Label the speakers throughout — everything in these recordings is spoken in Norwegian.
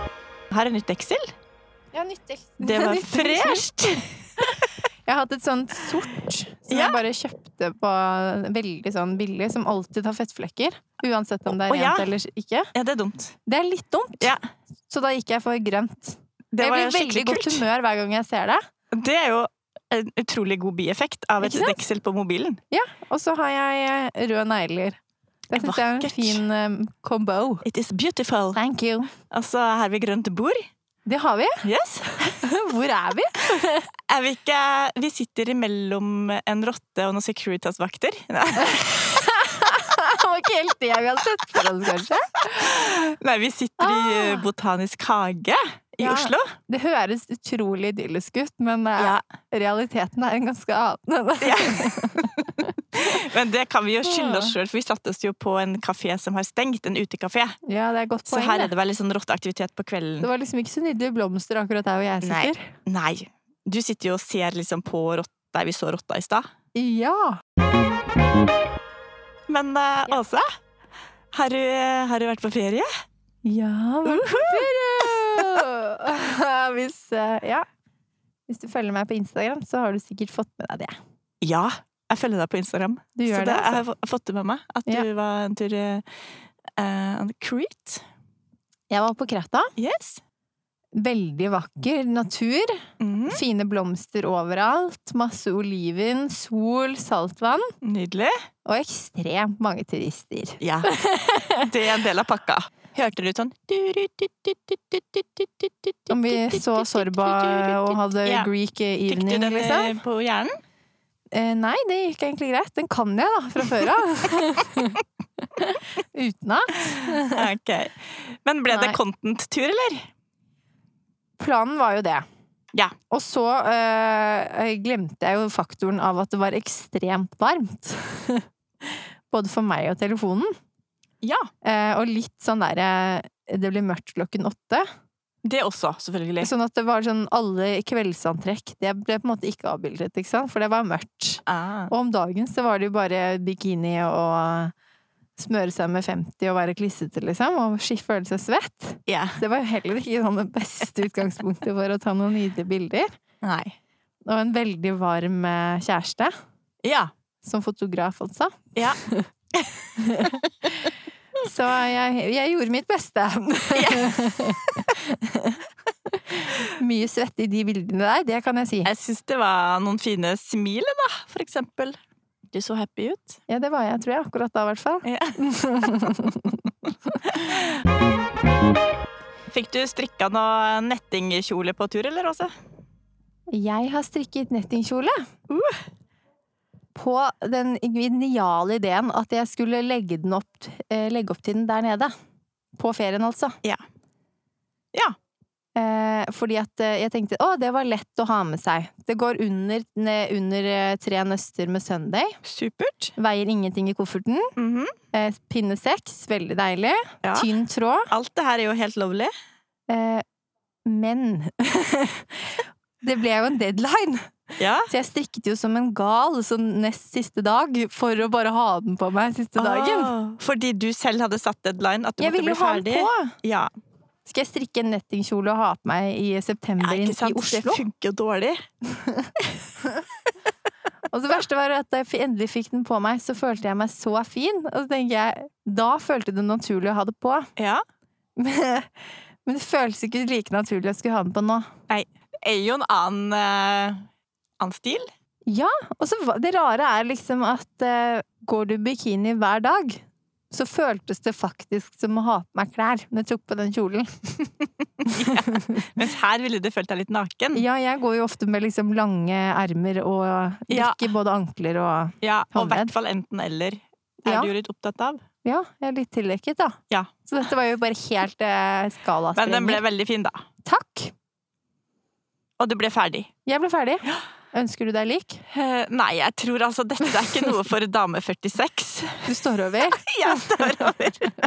Speaker 1: er det nytt Excel?
Speaker 2: Ja, nyttig.
Speaker 1: Det var
Speaker 2: Nyttig.
Speaker 1: fresht!
Speaker 2: Jeg har hatt et sånt sort som
Speaker 1: Ja.
Speaker 2: jeg bare kjøpte på veldig sånn billig, som alltid har fettflekker. Uansett om det
Speaker 1: Å,
Speaker 2: er
Speaker 1: ja.
Speaker 2: rent eller ikke.
Speaker 1: Ja, det er dumt.
Speaker 2: Det er litt dumt,
Speaker 1: Ja.
Speaker 2: så da gikk jeg for grønt.
Speaker 1: Det
Speaker 2: jeg
Speaker 1: var
Speaker 2: blir veldig
Speaker 1: skikkelig
Speaker 2: godt
Speaker 1: kult.
Speaker 2: humør hver gang jeg ser det.
Speaker 1: Det er jo en utrolig god bieffekt av et
Speaker 2: Ikke sant?
Speaker 1: deksel på mobilen.
Speaker 2: Og så har jeg eh, røde negler. Det syns jeg er en
Speaker 1: Vakkert.
Speaker 2: fin eh, combo.
Speaker 1: It is beautiful.
Speaker 2: Thank you.
Speaker 1: Altså, her ved grønt bord.
Speaker 2: Det har vi.
Speaker 1: Yes.
Speaker 2: Hvor er vi?
Speaker 1: Er vi ikke Vi sitter imellom en rotte og noen Securitas-vakter. Nei,
Speaker 2: Det var ikke helt det vi hadde sett for oss, kanskje.
Speaker 1: Nei, vi sitter i eh,
Speaker 2: Ah.
Speaker 1: Botanisk hage i
Speaker 2: Ja.
Speaker 1: Oslo.
Speaker 2: Det høres utrolig idyllisk ut, men eh,
Speaker 1: Ja.
Speaker 2: realiteten er en ganske annen.
Speaker 1: Ja. Men det kan vi jo skylde
Speaker 2: Ah.
Speaker 1: oss sjøl, for vi satte oss jo på en kafé som har stengt. En utekafé.
Speaker 2: Ja, det er et godt
Speaker 1: Så
Speaker 2: poeng.
Speaker 1: her
Speaker 2: det.
Speaker 1: er det vel litt sånn rotteaktivitet på kvelden.
Speaker 2: Det var liksom ikke så nydelige blomster akkurat der hvor jeg
Speaker 1: Nei.
Speaker 2: sitter.
Speaker 1: Nei. Du sitter jo og ser liksom på rotta. Vi så rotta i stad.
Speaker 2: Ja!
Speaker 1: Men eh, Åse, har du, har du vært på ferie?
Speaker 2: Ja, vært på ferie! Hvis, eh, ja. Hvis du følger meg på Instagram, så har du sikkert fått med deg det.
Speaker 1: Ja. Jeg følger deg på Instagram.
Speaker 2: Du
Speaker 1: så det,
Speaker 2: gjør det, altså.
Speaker 1: jeg har jeg fått det med meg. At
Speaker 2: Ja.
Speaker 1: du var en tur eh, eh, Crete.
Speaker 2: Jeg var på Kreta.
Speaker 1: Yes.
Speaker 2: Veldig vakker natur.
Speaker 1: Mm,
Speaker 2: Fine blomster overalt. Masse oliven, sol, saltvann.
Speaker 1: nydelig.
Speaker 2: Og ekstremt mange turister.
Speaker 1: Ja. Det er en del av pakka. Hørte du sånn
Speaker 2: Om vi så Sorba og hadde
Speaker 1: Ja.
Speaker 2: Greek
Speaker 1: Fikk du
Speaker 2: evening,
Speaker 1: den
Speaker 2: liksom.
Speaker 1: eh, på hjernen?
Speaker 2: Eh, nei, det gikk egentlig greit. Den kan jeg, da, fra før av. Utenat.
Speaker 1: Ok. Men ble det
Speaker 2: Nei.
Speaker 1: content-tur, eller?
Speaker 2: Planen var jo det.
Speaker 1: Ja.
Speaker 2: Og så eh, glemte jeg jo faktoren av at det var ekstremt varmt. Både for meg og telefonen.
Speaker 1: Ja.
Speaker 2: Eh, og litt sånn derre Det blir mørkt klokken åtte.
Speaker 1: Det også, selvfølgelig.
Speaker 2: Sånn at det var sånn alle kveldsantrekk. Det ble på en måte ikke avbildet, ikke sant? For det var mørkt.
Speaker 1: Ah.
Speaker 2: Og om dagen så var det jo bare bikini og smøre seg med 50 og være klissete, liksom. Og sk- føle seg svett.
Speaker 1: Ja.
Speaker 2: Det var jo heller ikke sånn det beste utgangspunktet for å ta noen nydelige bilder.
Speaker 1: Nei.
Speaker 2: Og en veldig varm eh, kjæreste,
Speaker 1: Ja.
Speaker 2: som fotograf altså.
Speaker 1: Ja.
Speaker 2: så jeg, jeg gjorde mitt beste. Mye svette i de bildene der, det kan jeg si.
Speaker 1: Jeg syns det var noen fine smil, da, for eksempel. Du så happy ut.
Speaker 2: Ja, det var jeg, tror jeg, akkurat da i hvert fall.
Speaker 1: Ja. Fikk du strikka noe nettingkjole på tur, eller, Åse?
Speaker 2: Jeg har strikket nettingkjole.
Speaker 1: Uh.
Speaker 2: På den geniale ideen at jeg skulle legge, den opp, eh, legge opp til den der nede. På ferien, altså.
Speaker 1: Ja. Ja.
Speaker 2: Eh, fordi at eh, jeg tenkte å, det var lett å ha med seg. Det går under, ne- under eh, tre nøster med Sunday.
Speaker 1: Supert.
Speaker 2: Veier ingenting i kofferten.
Speaker 1: Mhm.
Speaker 2: Eh, pinne seks, veldig deilig.
Speaker 1: Ja.
Speaker 2: Tynn tråd.
Speaker 1: Alt det her er jo helt lovlig.
Speaker 2: Eh, men det ble jo en deadline.
Speaker 1: Ja.
Speaker 2: Så jeg strikket jo som en gal sånn nest siste dag for å bare ha den på meg siste dagen.
Speaker 1: Ah, fordi du selv hadde satt deadline? At du
Speaker 2: Jeg
Speaker 1: måtte
Speaker 2: ville
Speaker 1: bli
Speaker 2: jo ha
Speaker 1: ferdig?
Speaker 2: den på!
Speaker 1: Ja.
Speaker 2: Skal jeg strikke en nettingkjole og ha på meg i september
Speaker 1: ja,
Speaker 2: inn
Speaker 1: ikke sant?
Speaker 2: i Oslo?
Speaker 1: Det funker jo dårlig.
Speaker 2: Og det verste var at da jeg endelig fikk den på meg, så følte jeg meg så fin. Og så tenker jeg, da følte det naturlig å ha det på.
Speaker 1: Ja.
Speaker 2: Men, men det føles ikke like naturlig å skulle ha den på nå.
Speaker 1: Det er jo en annen, eh, annen stil.
Speaker 2: Og så var- det rare er liksom at eh, går du i bikini hver dag, så føltes det faktisk som å ha på meg klær når jeg tok på den kjolen.
Speaker 1: Mens her ville du følt deg litt naken.
Speaker 2: Ja, jeg går jo ofte med liksom lange ermer og
Speaker 1: Ja.
Speaker 2: dekker både ankler og
Speaker 1: Ja, og i
Speaker 2: Håndledd.
Speaker 1: hvert fall enten-eller. Er
Speaker 2: Ja.
Speaker 1: du jo litt opptatt av.
Speaker 2: Ja, jeg er litt tildekket, da.
Speaker 1: Ja.
Speaker 2: Så dette var jo bare helt eh,
Speaker 1: Men den ble
Speaker 2: skalasprengning.
Speaker 1: veldig fin, da.
Speaker 2: Takk!
Speaker 1: Og du ble ferdig.
Speaker 2: Jeg ble ferdig. Ønsker du deg lik?
Speaker 1: Eh, Nei, jeg tror altså dette er ikke noe for dame 46.
Speaker 2: Du står over
Speaker 1: Jeg står over.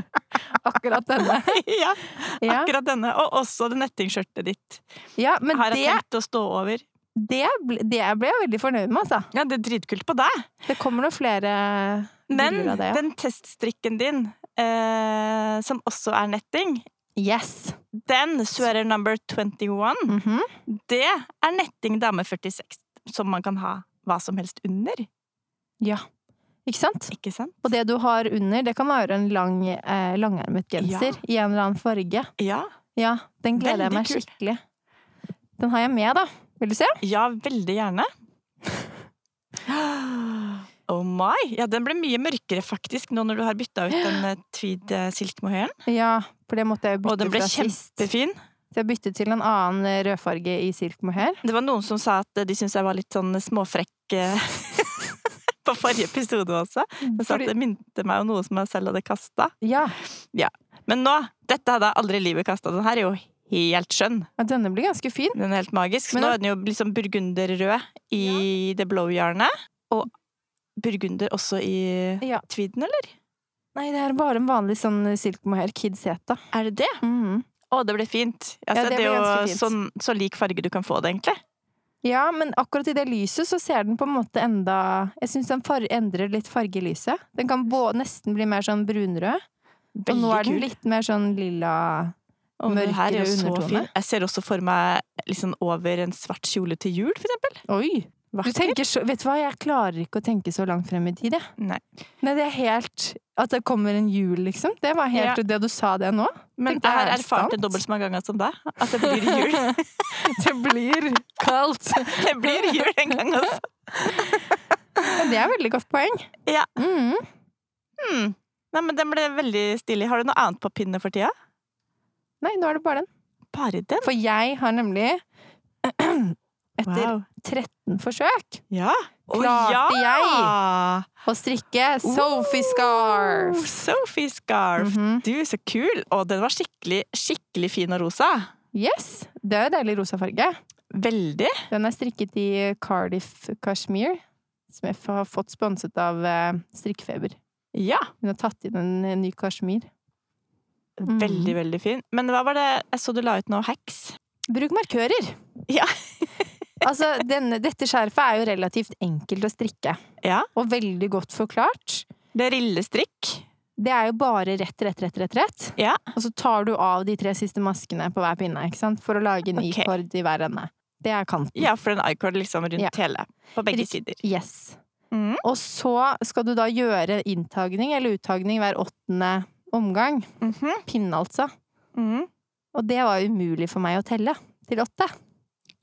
Speaker 2: akkurat denne.
Speaker 1: Ja,
Speaker 2: Ja,
Speaker 1: akkurat denne. Og også det nettingskjørtet ditt
Speaker 2: ja men
Speaker 1: har jeg
Speaker 2: det,
Speaker 1: tenkt å stå over.
Speaker 2: det, ble, det ble jeg veldig fornøyd med, altså.
Speaker 1: Ja, det er dritkult på deg.
Speaker 2: Det kommer noen flere
Speaker 1: Men
Speaker 2: bilder av det. ja.
Speaker 1: den teststrikken din, eh, som også er netting,
Speaker 2: Yes!
Speaker 1: Den, sweater number 21,
Speaker 2: Mhm.
Speaker 1: det er netting dame 46, som man kan ha hva som helst under.
Speaker 2: Ikke sant?
Speaker 1: Ikke sant?
Speaker 2: Og det du har under, det kan være en lang, eh, langermet genser i en eller annen farge.
Speaker 1: Ja.
Speaker 2: Ja, den gleder
Speaker 1: Veldig
Speaker 2: jeg meg
Speaker 1: kult.
Speaker 2: skikkelig. Den har jeg med, da. Vil du se?
Speaker 1: ja, veldig gjerne. Oh my! Ja, den ble mye mørkere faktisk nå når du har bytta ut den eh, tweed eh, silk mohairen.
Speaker 2: Ja, for det måtte jeg jo
Speaker 1: Og den
Speaker 2: bytte
Speaker 1: ble
Speaker 2: fra sist.
Speaker 1: kjempefin.
Speaker 2: Så jeg byttet til en annen eh, rødfarge i silk mohair.
Speaker 1: Det var noen som sa at eh, de syntes jeg var litt sånn småfrekk eh, på forrige episode også. De sa at
Speaker 2: Fordi-
Speaker 1: det minte meg om noe som jeg selv hadde kasta.
Speaker 2: Ja,
Speaker 1: Men nå! Dette hadde jeg aldri i livet kasta. Den her er jo helt skjønn.
Speaker 2: ja, denne blir ganske fin.
Speaker 1: Den er helt magisk.
Speaker 2: Men
Speaker 1: nå
Speaker 2: da-
Speaker 1: er den jo liksom burgunderrød i det blowjernet. Og burgunder også i
Speaker 2: Ja.
Speaker 1: tweeden, eller?
Speaker 2: Nei, det er bare en vanlig sånn silk mohair kids heta.
Speaker 1: Er det det?
Speaker 2: Mhm.
Speaker 1: Å, det ble fint. Altså,
Speaker 2: Ja, det
Speaker 1: det,
Speaker 2: ble
Speaker 1: er
Speaker 2: ganske
Speaker 1: jo
Speaker 2: fint.
Speaker 1: sånn, så lik farge du kan få det, egentlig.
Speaker 2: Ja, men akkurat i det lyset så ser den på en måte enda Jeg syns den far endrer litt farge i lyset. Den kan bå nesten bli mer sånn brunrød. Og nå er den
Speaker 1: kul.
Speaker 2: litt mer sånn lilla
Speaker 1: Og den her er jo
Speaker 2: mørkere
Speaker 1: så
Speaker 2: undertone.
Speaker 1: fin. Jeg ser også for meg liksom over en svart kjole til jul, for eksempel.
Speaker 2: Oi! Du
Speaker 1: Vakker.
Speaker 2: tenker så, vet du hva, jeg klarer ikke å tenke så langt frem i tid, jeg.
Speaker 1: Nei.
Speaker 2: Nei, det er helt At det kommer en jul, liksom. Det var helt det du sa det nå.
Speaker 1: Men
Speaker 2: Tenk,
Speaker 1: jeg har
Speaker 2: er det
Speaker 1: erfart det
Speaker 2: sant?
Speaker 1: dobbelt så mange ganger som deg, at det blir jul.
Speaker 2: Det blir kaldt.
Speaker 1: det blir jul en gang altså. også.
Speaker 2: Men det er veldig godt poeng.
Speaker 1: Ja.
Speaker 2: Mhm.
Speaker 1: Hmm. Nei, men den ble veldig stilig. Har du noe annet på pinne for tida?
Speaker 2: Nei, nå er det bare den.
Speaker 1: Bare den?
Speaker 2: For jeg har nemlig Etter
Speaker 1: Wow.
Speaker 2: 13 forsøk
Speaker 1: Ja. Å,
Speaker 2: Klarte
Speaker 1: ja!
Speaker 2: å strikke Sophie
Speaker 1: Oh,
Speaker 2: Scarf.
Speaker 1: Sophie Scarf.
Speaker 2: Mhm.
Speaker 1: Du, så kul! Og den var skikkelig, skikkelig fin og rosa.
Speaker 2: Yes. Det er deilig rosa farge.
Speaker 1: Veldig.
Speaker 2: Den er strikket i Cardiff Kashmir, som jeg har fått sponset av eh, Strikkefeber.
Speaker 1: Ja.
Speaker 2: Hun har tatt inn en eh, ny kashmir. Mhm.
Speaker 1: Veldig, veldig fin. Men hva var det jeg så du la ut nå? Hacks?
Speaker 2: Bruk markører!
Speaker 1: Ja.
Speaker 2: altså, denne, dette skjerfet er jo relativt enkelt å strikke.
Speaker 1: Ja.
Speaker 2: Og veldig godt forklart.
Speaker 1: Brillestrikk?
Speaker 2: Det er jo bare rett, rett, rett, rett, rett.
Speaker 1: Ja.
Speaker 2: Og så tar du av de tre siste maskene på hver pinne, ikke sant? For å lage en
Speaker 1: Ok.
Speaker 2: ikord i hver ende. Det er kanten.
Speaker 1: Ja, for en icord liksom rundt
Speaker 2: Ja.
Speaker 1: hele. På begge
Speaker 2: Riktig.
Speaker 1: sider.
Speaker 2: Yes.
Speaker 1: Mhm.
Speaker 2: Og så skal du da gjøre inntagning eller uttagning hver åttende omgang.
Speaker 1: Mhm.
Speaker 2: Pinne, altså.
Speaker 1: Mhm.
Speaker 2: Og det var umulig for meg å telle til åtte.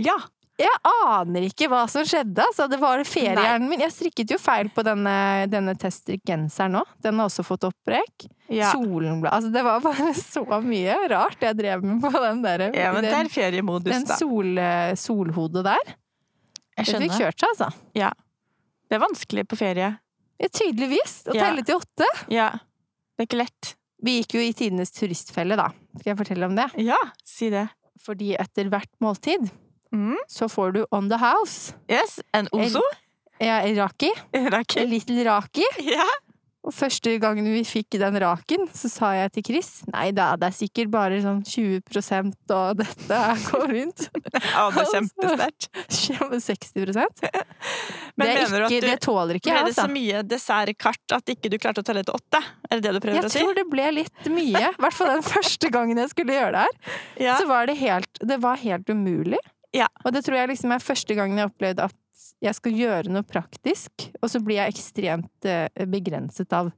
Speaker 1: Ja.
Speaker 2: Jeg aner ikke hva som skjedde, altså. Det var feriehjernen min. Jeg strikket jo feil på denne, denne testgenseren òg. Den har også fått opprekk.
Speaker 1: ja.
Speaker 2: Solen ble Altså, det var bare så mye rart jeg drev med på den derre
Speaker 1: Ja, men det er feriemodus,
Speaker 2: den
Speaker 1: da.
Speaker 2: sol, eh, solhodet der.
Speaker 1: Jeg
Speaker 2: Det fikk
Speaker 1: skjønner.
Speaker 2: kjørt seg, altså.
Speaker 1: Det er vanskelig på ferie.
Speaker 2: Ja, tydeligvis. Å
Speaker 1: Ja.
Speaker 2: telle til åtte.
Speaker 1: Ja. Det er ikke lett.
Speaker 2: Vi gikk jo i tidenes turistfelle, da. Skal jeg fortelle om det?
Speaker 1: Ja, si det.
Speaker 2: Fordi etter hvert måltid
Speaker 1: Mhm.
Speaker 2: så får du On The House.
Speaker 1: Yes, en ozo.
Speaker 2: Ja, raki.
Speaker 1: Rakel.
Speaker 2: Little raki.
Speaker 1: Ja.
Speaker 2: Og første gangen vi fikk den raken, så sa jeg til Chris Nei da, det er sikkert bare sånn 20 og dette går rundt.
Speaker 1: Å, det er kjempesterkt.
Speaker 2: 60
Speaker 1: Men
Speaker 2: det, er
Speaker 1: mener du at
Speaker 2: ikke,
Speaker 1: du-
Speaker 2: det tåler ikke
Speaker 1: Ble
Speaker 2: jeg,
Speaker 1: det så
Speaker 2: altså.
Speaker 1: mye dessertkart at ikke du klarte å telle til åtte? Er det det du prøver
Speaker 2: Jeg
Speaker 1: å si?
Speaker 2: tror det ble litt mye. I hvert fall den første gangen jeg skulle gjøre det her.
Speaker 1: Ja.
Speaker 2: så var det helt, det var helt umulig.
Speaker 1: Ja.
Speaker 2: Og det tror jeg liksom er første gangen jeg opplevde at jeg skal gjøre noe praktisk, og så blir jeg ekstremt eh, begrenset av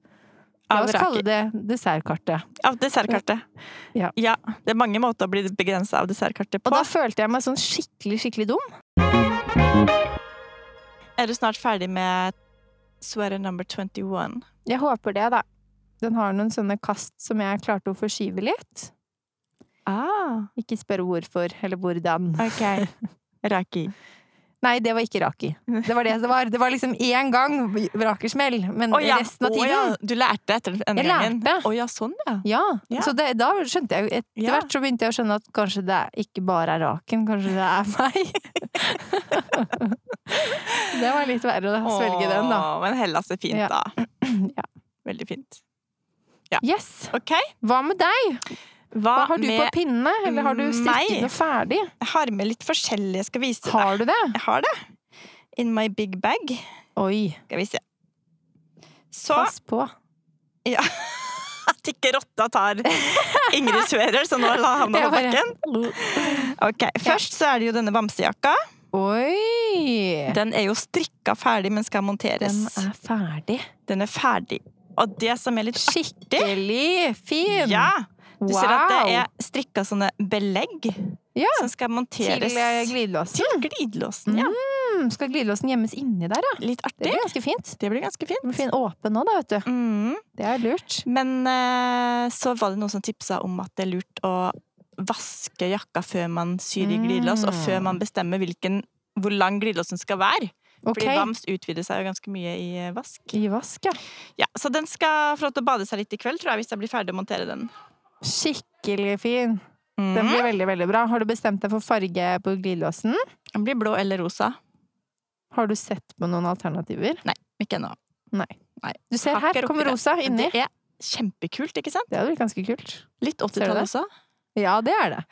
Speaker 2: La
Speaker 1: Av
Speaker 2: oss
Speaker 1: raki.
Speaker 2: kalle det dessertkartet.
Speaker 1: Av dessertkartet.
Speaker 2: Ja.
Speaker 1: Det er mange måter å bli begrensa av dessertkartet
Speaker 2: Og
Speaker 1: på.
Speaker 2: da følte jeg meg sånn skikkelig, skikkelig dum.
Speaker 1: Er du snart ferdig med sweater number 21?
Speaker 2: Jeg håper det, da. Den har noen sånne kast som jeg klarte å forskyve litt.
Speaker 1: Ah,
Speaker 2: Ikke spør hvorfor, eller hvordan.
Speaker 1: ok. Raki.
Speaker 2: Nei, det var ikke raki. Det var det det var. Det var liksom én gang vrakersmell, men Mm, resten av
Speaker 1: Å
Speaker 2: tiden
Speaker 1: ja, Du lærte etter den
Speaker 2: Jeg
Speaker 1: gangen?
Speaker 2: lærte.
Speaker 1: Å ja, sånn ja.
Speaker 2: Ja,
Speaker 1: Ja.
Speaker 2: så det, da skjønte jeg jo Etter
Speaker 1: Ja.
Speaker 2: hvert så begynte jeg å skjønne at kanskje det er ikke bare er raken, kanskje det er meg. det var litt verre å svelge den, da.
Speaker 1: Å, Men Hellas er fint,
Speaker 2: Ja.
Speaker 1: da.
Speaker 2: Ja.
Speaker 1: Veldig fint.
Speaker 2: Yes!
Speaker 1: OK.
Speaker 2: Hva med deg? Hva har du på
Speaker 1: med
Speaker 2: pinne? Eller har du
Speaker 1: meg?
Speaker 2: strikket noe ferdig?
Speaker 1: Jeg har med litt forskjellig. Jeg skal vise deg.
Speaker 2: Har du det?
Speaker 1: Jeg har det. In my big bag.
Speaker 2: Oi,
Speaker 1: Skal vi se. Så
Speaker 2: pass på.
Speaker 1: Ja. stikke rotta, tar Ingrid Sverer, så nå la han på
Speaker 2: Jeg
Speaker 1: bakken.
Speaker 2: bare-
Speaker 1: Ok, Først så er det jo denne bamsejakka.
Speaker 2: Oi!
Speaker 1: Den er jo strikka ferdig, men skal
Speaker 2: Den
Speaker 1: monteres.
Speaker 2: er ferdig.
Speaker 1: Den er ferdig. Og det som er litt
Speaker 2: Skikkelig fin!
Speaker 1: Ja! Du ser at det
Speaker 2: Wow.
Speaker 1: er strikka sånne belegg
Speaker 2: Ja,
Speaker 1: som skal
Speaker 2: Til
Speaker 1: monteres
Speaker 2: eh, glidelåsen.
Speaker 1: til glidelåsen. Ja.
Speaker 2: Mm, skal glidelåsen gjemmes inni der, ja?
Speaker 1: Litt
Speaker 2: Det
Speaker 1: artig.
Speaker 2: blir ganske fint.
Speaker 1: Det blir ganske
Speaker 2: Den blir
Speaker 1: fint.
Speaker 2: fin åpen nå, da, vet du.
Speaker 1: Mm.
Speaker 2: Det er lurt.
Speaker 1: Men eh, så var det noen som tipsa om at det er lurt å vaske jakka før man syr i glidelås, og
Speaker 2: Mm.
Speaker 1: før man bestemmer hvilken, hvor lang glidelåsen skal være.
Speaker 2: Ok.
Speaker 1: Fordi bams utvider seg jo ganske mye i eh, vask.
Speaker 2: I vask, ja.
Speaker 1: Ja, Så den skal få lov til å bade seg litt i kveld, tror jeg, hvis jeg blir ferdig å montere den.
Speaker 2: Skikkelig fin.
Speaker 1: Mm.
Speaker 2: Den blir veldig, veldig bra. Har du bestemt deg for farge på glidelåsen?
Speaker 1: Den blir blå eller rosa.
Speaker 2: Har du sett på noen alternativer?
Speaker 1: Ikke ennå.
Speaker 2: Du ser
Speaker 1: Hakker
Speaker 2: her,
Speaker 1: oppi
Speaker 2: kommer
Speaker 1: der.
Speaker 2: rosa inni.
Speaker 1: Det er kjempekult, ikke sant?
Speaker 2: Det hadde vært ganske kult.
Speaker 1: Litt
Speaker 2: du
Speaker 1: 80-tall
Speaker 2: det?
Speaker 1: også.
Speaker 2: Ja, det er det.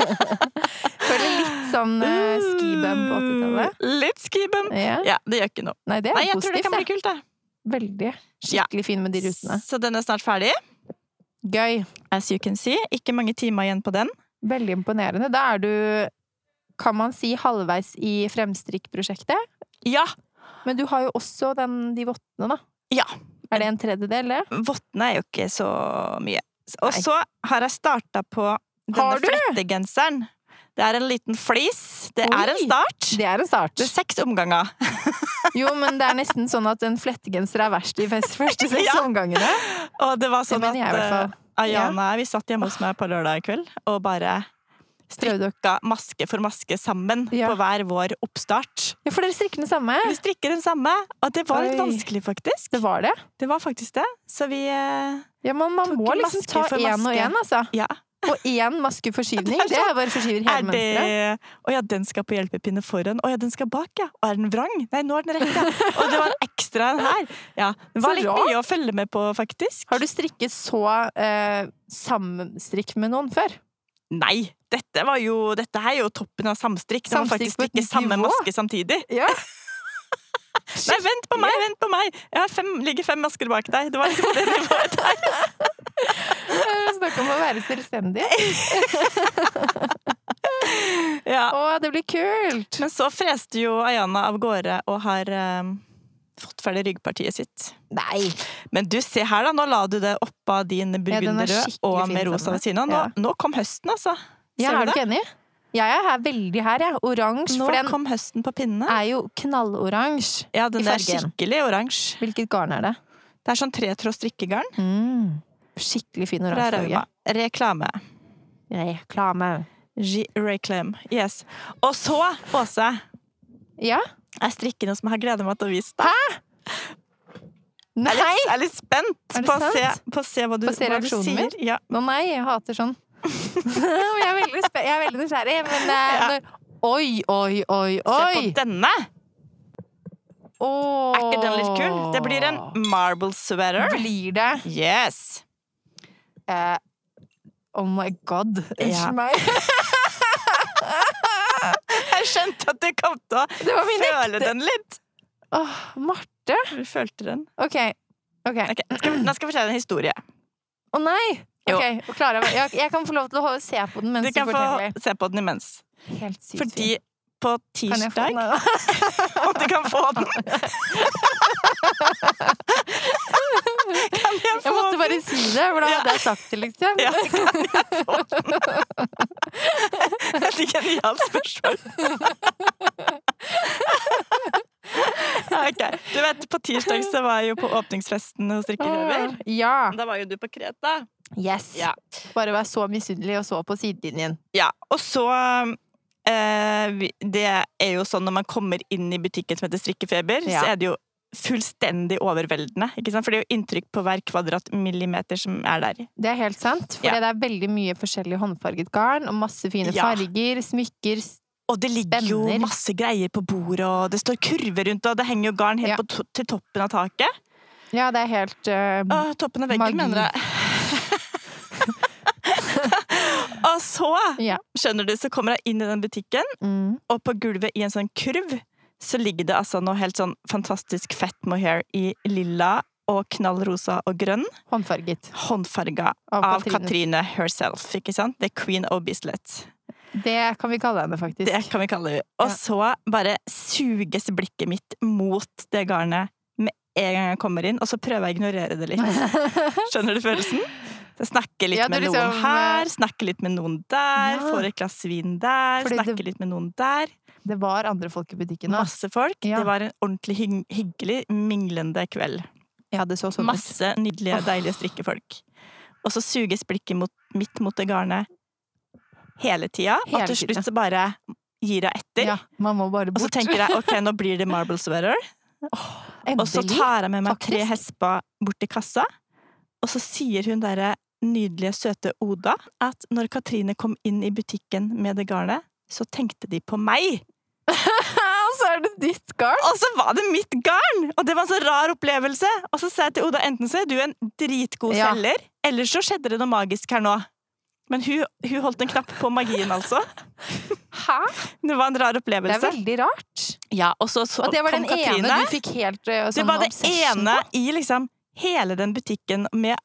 Speaker 2: Føler litt sånn uh, skibub på 80-tallet.
Speaker 1: Uh, Mm. Litt skibum.
Speaker 2: Ja.
Speaker 1: Ja, det gjør ikke noe.
Speaker 2: Nei, det er
Speaker 1: Nei, jeg tror det
Speaker 2: positivt.
Speaker 1: kan bli
Speaker 2: Det
Speaker 1: kult, det.
Speaker 2: Veldig.
Speaker 1: Ja.
Speaker 2: Skikkelig fin med de rutene.
Speaker 1: Så den er snart ferdig.
Speaker 2: Gøy.
Speaker 1: As you can see. Ikke mange timer igjen på den.
Speaker 2: Veldig imponerende. Da er du, kan man si, halvveis i fremstrikkprosjektet.
Speaker 1: Ja!
Speaker 2: Men du har jo også den, de vottene, da.
Speaker 1: Ja.
Speaker 2: Er det en tredjedel, det?
Speaker 1: Vottene er jo ikke så mye. Og
Speaker 2: Nei.
Speaker 1: så har jeg starta på denne
Speaker 2: Har du?
Speaker 1: flettegenseren. Det er en liten flis. Det er en
Speaker 2: Oi.
Speaker 1: start.
Speaker 2: Det er en start.
Speaker 1: Det er seks omganger.
Speaker 2: Jo, men det er nesten sånn at en flettegenser er verst i fest første seks
Speaker 1: Ja.
Speaker 2: omgangene.
Speaker 1: Og det var
Speaker 2: Det
Speaker 1: sånn at
Speaker 2: mener jeg i hvert fall.
Speaker 1: eh, Ayana vi satt hjemme hos meg på lørdag kveld og bare
Speaker 2: Prøvde dere-
Speaker 1: ga maske for maske sammen
Speaker 2: Ja.
Speaker 1: på hver vår oppstart.
Speaker 2: Ja, for dere strikker den samme.
Speaker 1: Vi strikker den samme, og det var litt
Speaker 2: Oi.
Speaker 1: vanskelig, faktisk.
Speaker 2: Det var det.
Speaker 1: Det var faktisk det. Så vi eh,
Speaker 2: Ja, men man
Speaker 1: Tok
Speaker 2: må
Speaker 1: en
Speaker 2: liksom
Speaker 1: maske
Speaker 2: ta
Speaker 1: for
Speaker 2: én og
Speaker 1: maske.
Speaker 2: én, altså.
Speaker 1: Ja.
Speaker 2: Og én maske forskyvning.
Speaker 1: Det er
Speaker 2: Det er bare forskyver hele
Speaker 1: Er det
Speaker 2: mønsteret.
Speaker 1: Å ja, den skal på hjelpepinne foran. Å ja, den skal bak, ja. Og er den vrang? Nei, nå er den rett, ja. Og det var en ekstra en her. Ja, det
Speaker 2: Så
Speaker 1: var litt
Speaker 2: rart.
Speaker 1: mye å følge med på, faktisk.
Speaker 2: Har du strikket så eh, sammenstrikk med noen før?
Speaker 1: Nei! Dette, var jo, dette her er jo toppen av samstrikk. Det var
Speaker 2: Samstrikk
Speaker 1: faktisk
Speaker 2: på et
Speaker 1: ikke samme
Speaker 2: nivå.
Speaker 1: maske samtidig.
Speaker 2: Ja.
Speaker 1: Nei, vent på meg! vent på meg! Jeg har fem, ligger fem masker bak deg. Det var liksom det nivået.
Speaker 2: Snakk om å være selvstendig.
Speaker 1: Ja.
Speaker 2: Å, det blir kult!
Speaker 1: Men så freste jo Ayana av gårde og har eh, fått ferdig ryggpartiet sitt.
Speaker 2: Nei!
Speaker 1: Men du, se her da, nå la du det oppå din
Speaker 2: er
Speaker 1: burgunderrød
Speaker 2: skikkelig
Speaker 1: og
Speaker 2: fin
Speaker 1: med rosa
Speaker 2: sammen.
Speaker 1: ved siden av. Nå, nå kom høsten, altså.
Speaker 2: Ja,
Speaker 1: Ser
Speaker 2: er
Speaker 1: du
Speaker 2: du
Speaker 1: det?
Speaker 2: ikke enig? Jeg er her, veldig her, jeg. Oransje.
Speaker 1: Nå
Speaker 2: For den
Speaker 1: kom høsten på pinnene.
Speaker 2: er jo knalloransje.
Speaker 1: Ja, den
Speaker 2: i
Speaker 1: er
Speaker 2: fargen.
Speaker 1: skikkelig oransje.
Speaker 2: Hvilket garn er det?
Speaker 1: Det er sånn tretråd strikkegarn.
Speaker 2: Mm. Skikkelig fin
Speaker 1: Fra
Speaker 2: oransjefarge.
Speaker 1: Rauma. Reklame.
Speaker 2: Reklame.
Speaker 1: G- Reclaim. Yes. Og så, Åse,
Speaker 2: Ja?
Speaker 1: jeg strikker noe som jeg har gleda meg til å vise deg. Jeg er litt, jeg er litt spent
Speaker 2: Er det
Speaker 1: på å, se,
Speaker 2: sant?
Speaker 1: på å se hva du,
Speaker 2: På å se
Speaker 1: hva du
Speaker 2: reaksjonen
Speaker 1: sier.
Speaker 2: min?
Speaker 1: Ja.
Speaker 2: Å nei, jeg hater sånn. Og jeg er veldig, spe- jeg er veldig nysgjerrig, men eh,
Speaker 1: Ja.
Speaker 2: når, Oi, oi, oi,
Speaker 1: Se
Speaker 2: oi!
Speaker 1: på denne!
Speaker 2: Åh.
Speaker 1: Er ikke den litt kul? Det blir en marble sweater.
Speaker 2: Blir det?
Speaker 1: Yes!
Speaker 2: Eh, oh my god.
Speaker 1: Ja.
Speaker 2: Unnskyld meg.
Speaker 1: Jeg skjønte at du kom til å
Speaker 2: Det var min
Speaker 1: føle den litt.
Speaker 2: Åh, Marte.
Speaker 1: Du følte den.
Speaker 2: OK. ok.
Speaker 1: Ok, skal vi, Nå skal jeg fortelle en historie.
Speaker 2: Å nei!
Speaker 1: Jo.
Speaker 2: Ok, Klara, jeg, jeg kan få lov til å holde- se på den
Speaker 1: Du
Speaker 2: mens du,
Speaker 1: kan få
Speaker 2: forteller.
Speaker 1: se på den imens.
Speaker 2: Helt sykt.
Speaker 1: Fordi på
Speaker 2: fin. Kan jeg få
Speaker 1: tirsdag
Speaker 2: den, da?
Speaker 1: Om du kan få den! Kan jeg
Speaker 2: Jeg
Speaker 1: få
Speaker 2: måtte bare si det, for da
Speaker 1: Ja.
Speaker 2: hadde jeg sagt det, liksom.
Speaker 1: Ja, kan jeg få den? Et genialt spørsmål. Ok, Du vet, på tirsdag så var jeg jo på åpningsfesten hos Drikkerøver.
Speaker 2: Åh, Ja.
Speaker 1: Da var jo du på Kreta.
Speaker 2: Yes.
Speaker 1: Ja.
Speaker 2: Bare vær så misunnelig og så på sidelinjen.
Speaker 1: Ja, og så eh, vi- Det er jo sånn når man kommer inn i butikken som heter Strikkefeber,
Speaker 2: Ja.
Speaker 1: så er det jo fullstendig overveldende. Ikke sant? For det er jo inntrykk på hver kvadratmillimeter som er der.
Speaker 2: Det er helt sant, for
Speaker 1: Ja.
Speaker 2: det er veldig mye forskjellig håndfarget garn, og masse fine
Speaker 1: Ja.
Speaker 2: farger, smykker s-
Speaker 1: Og det ligger jo
Speaker 2: Spenner.
Speaker 1: masse greier på bordet, og det står kurver rundt, og det henger jo garn helt
Speaker 2: Ja.
Speaker 1: på to til toppen av taket.
Speaker 2: Ja, det er helt eh,
Speaker 1: Å, toppen av veggen,
Speaker 2: Magi.
Speaker 1: mener jeg. og så,
Speaker 2: Ja.
Speaker 1: skjønner du, så kommer jeg inn i den butikken,
Speaker 2: mm.
Speaker 1: og på gulvet i en sånn kurv så ligger det altså noe helt sånn fantastisk fett mohair i lilla og knallrosa og grønn,
Speaker 2: Håndfarget.
Speaker 1: håndfarga
Speaker 2: Av
Speaker 1: av
Speaker 2: Katrine.
Speaker 1: Katrine herself. ikke sant? The Queen of Bislett.
Speaker 2: Det kan vi kalle henne, faktisk.
Speaker 1: Det kan vi kalle henne. Og
Speaker 2: Ja.
Speaker 1: så bare suges blikket mitt mot det garnet med en gang jeg kommer inn, og så prøver jeg å ignorere det litt. Skjønner du følelsen? Så jeg snakker litt
Speaker 2: Ja, du
Speaker 1: med
Speaker 2: liksom,
Speaker 1: noen her, snakker litt med noen der,
Speaker 2: Ja.
Speaker 1: får et glass vin der,
Speaker 2: Fordi
Speaker 1: snakker
Speaker 2: det-
Speaker 1: litt med noen der.
Speaker 2: det var andre folk i butikken da.
Speaker 1: Masse folk.
Speaker 2: Ja.
Speaker 1: Det var en ordentlig hygg- hyggelig, minglende kveld.
Speaker 2: Ja, det så sånn ut.
Speaker 1: Masse nydelige,
Speaker 2: Åh.
Speaker 1: deilige strikkefolk. Og så suges blikket mot, mitt mot det garnet hele tida, og
Speaker 2: Hele
Speaker 1: til
Speaker 2: tiden.
Speaker 1: slutt så bare gir jeg etter.
Speaker 2: Ja, man må bare
Speaker 1: Og
Speaker 2: bort.
Speaker 1: så tenker jeg ok, nå blir det marble sweater. Og så
Speaker 2: Endelig.
Speaker 1: tar jeg med meg tre
Speaker 2: faktisk.
Speaker 1: hesper bort til kassa, og så sier hun derre nydelige, søte Oda at når Katrine kom inn i butikken med det garnet, så tenkte de på meg!
Speaker 2: Og så er det ditt garn!
Speaker 1: Og så var det mitt garn! Og det var en så rar opplevelse! Og så sa jeg til Oda enten så er du en dritgod
Speaker 2: Ja.
Speaker 1: selger, eller så skjedde det noe magisk her nå. Men hun, hun holdt en knapp på magien, altså.
Speaker 2: Hæ?
Speaker 1: Det var en rar
Speaker 2: Det er
Speaker 1: opplevelse.
Speaker 2: veldig rart.
Speaker 1: Ja, og så, så
Speaker 2: Og det var
Speaker 1: kom
Speaker 2: den
Speaker 1: Katrine.
Speaker 2: ene du fikk helt eh,
Speaker 1: Det
Speaker 2: sånn
Speaker 1: var det
Speaker 2: obsession
Speaker 1: ene
Speaker 2: på.
Speaker 1: i liksom hele den butikken med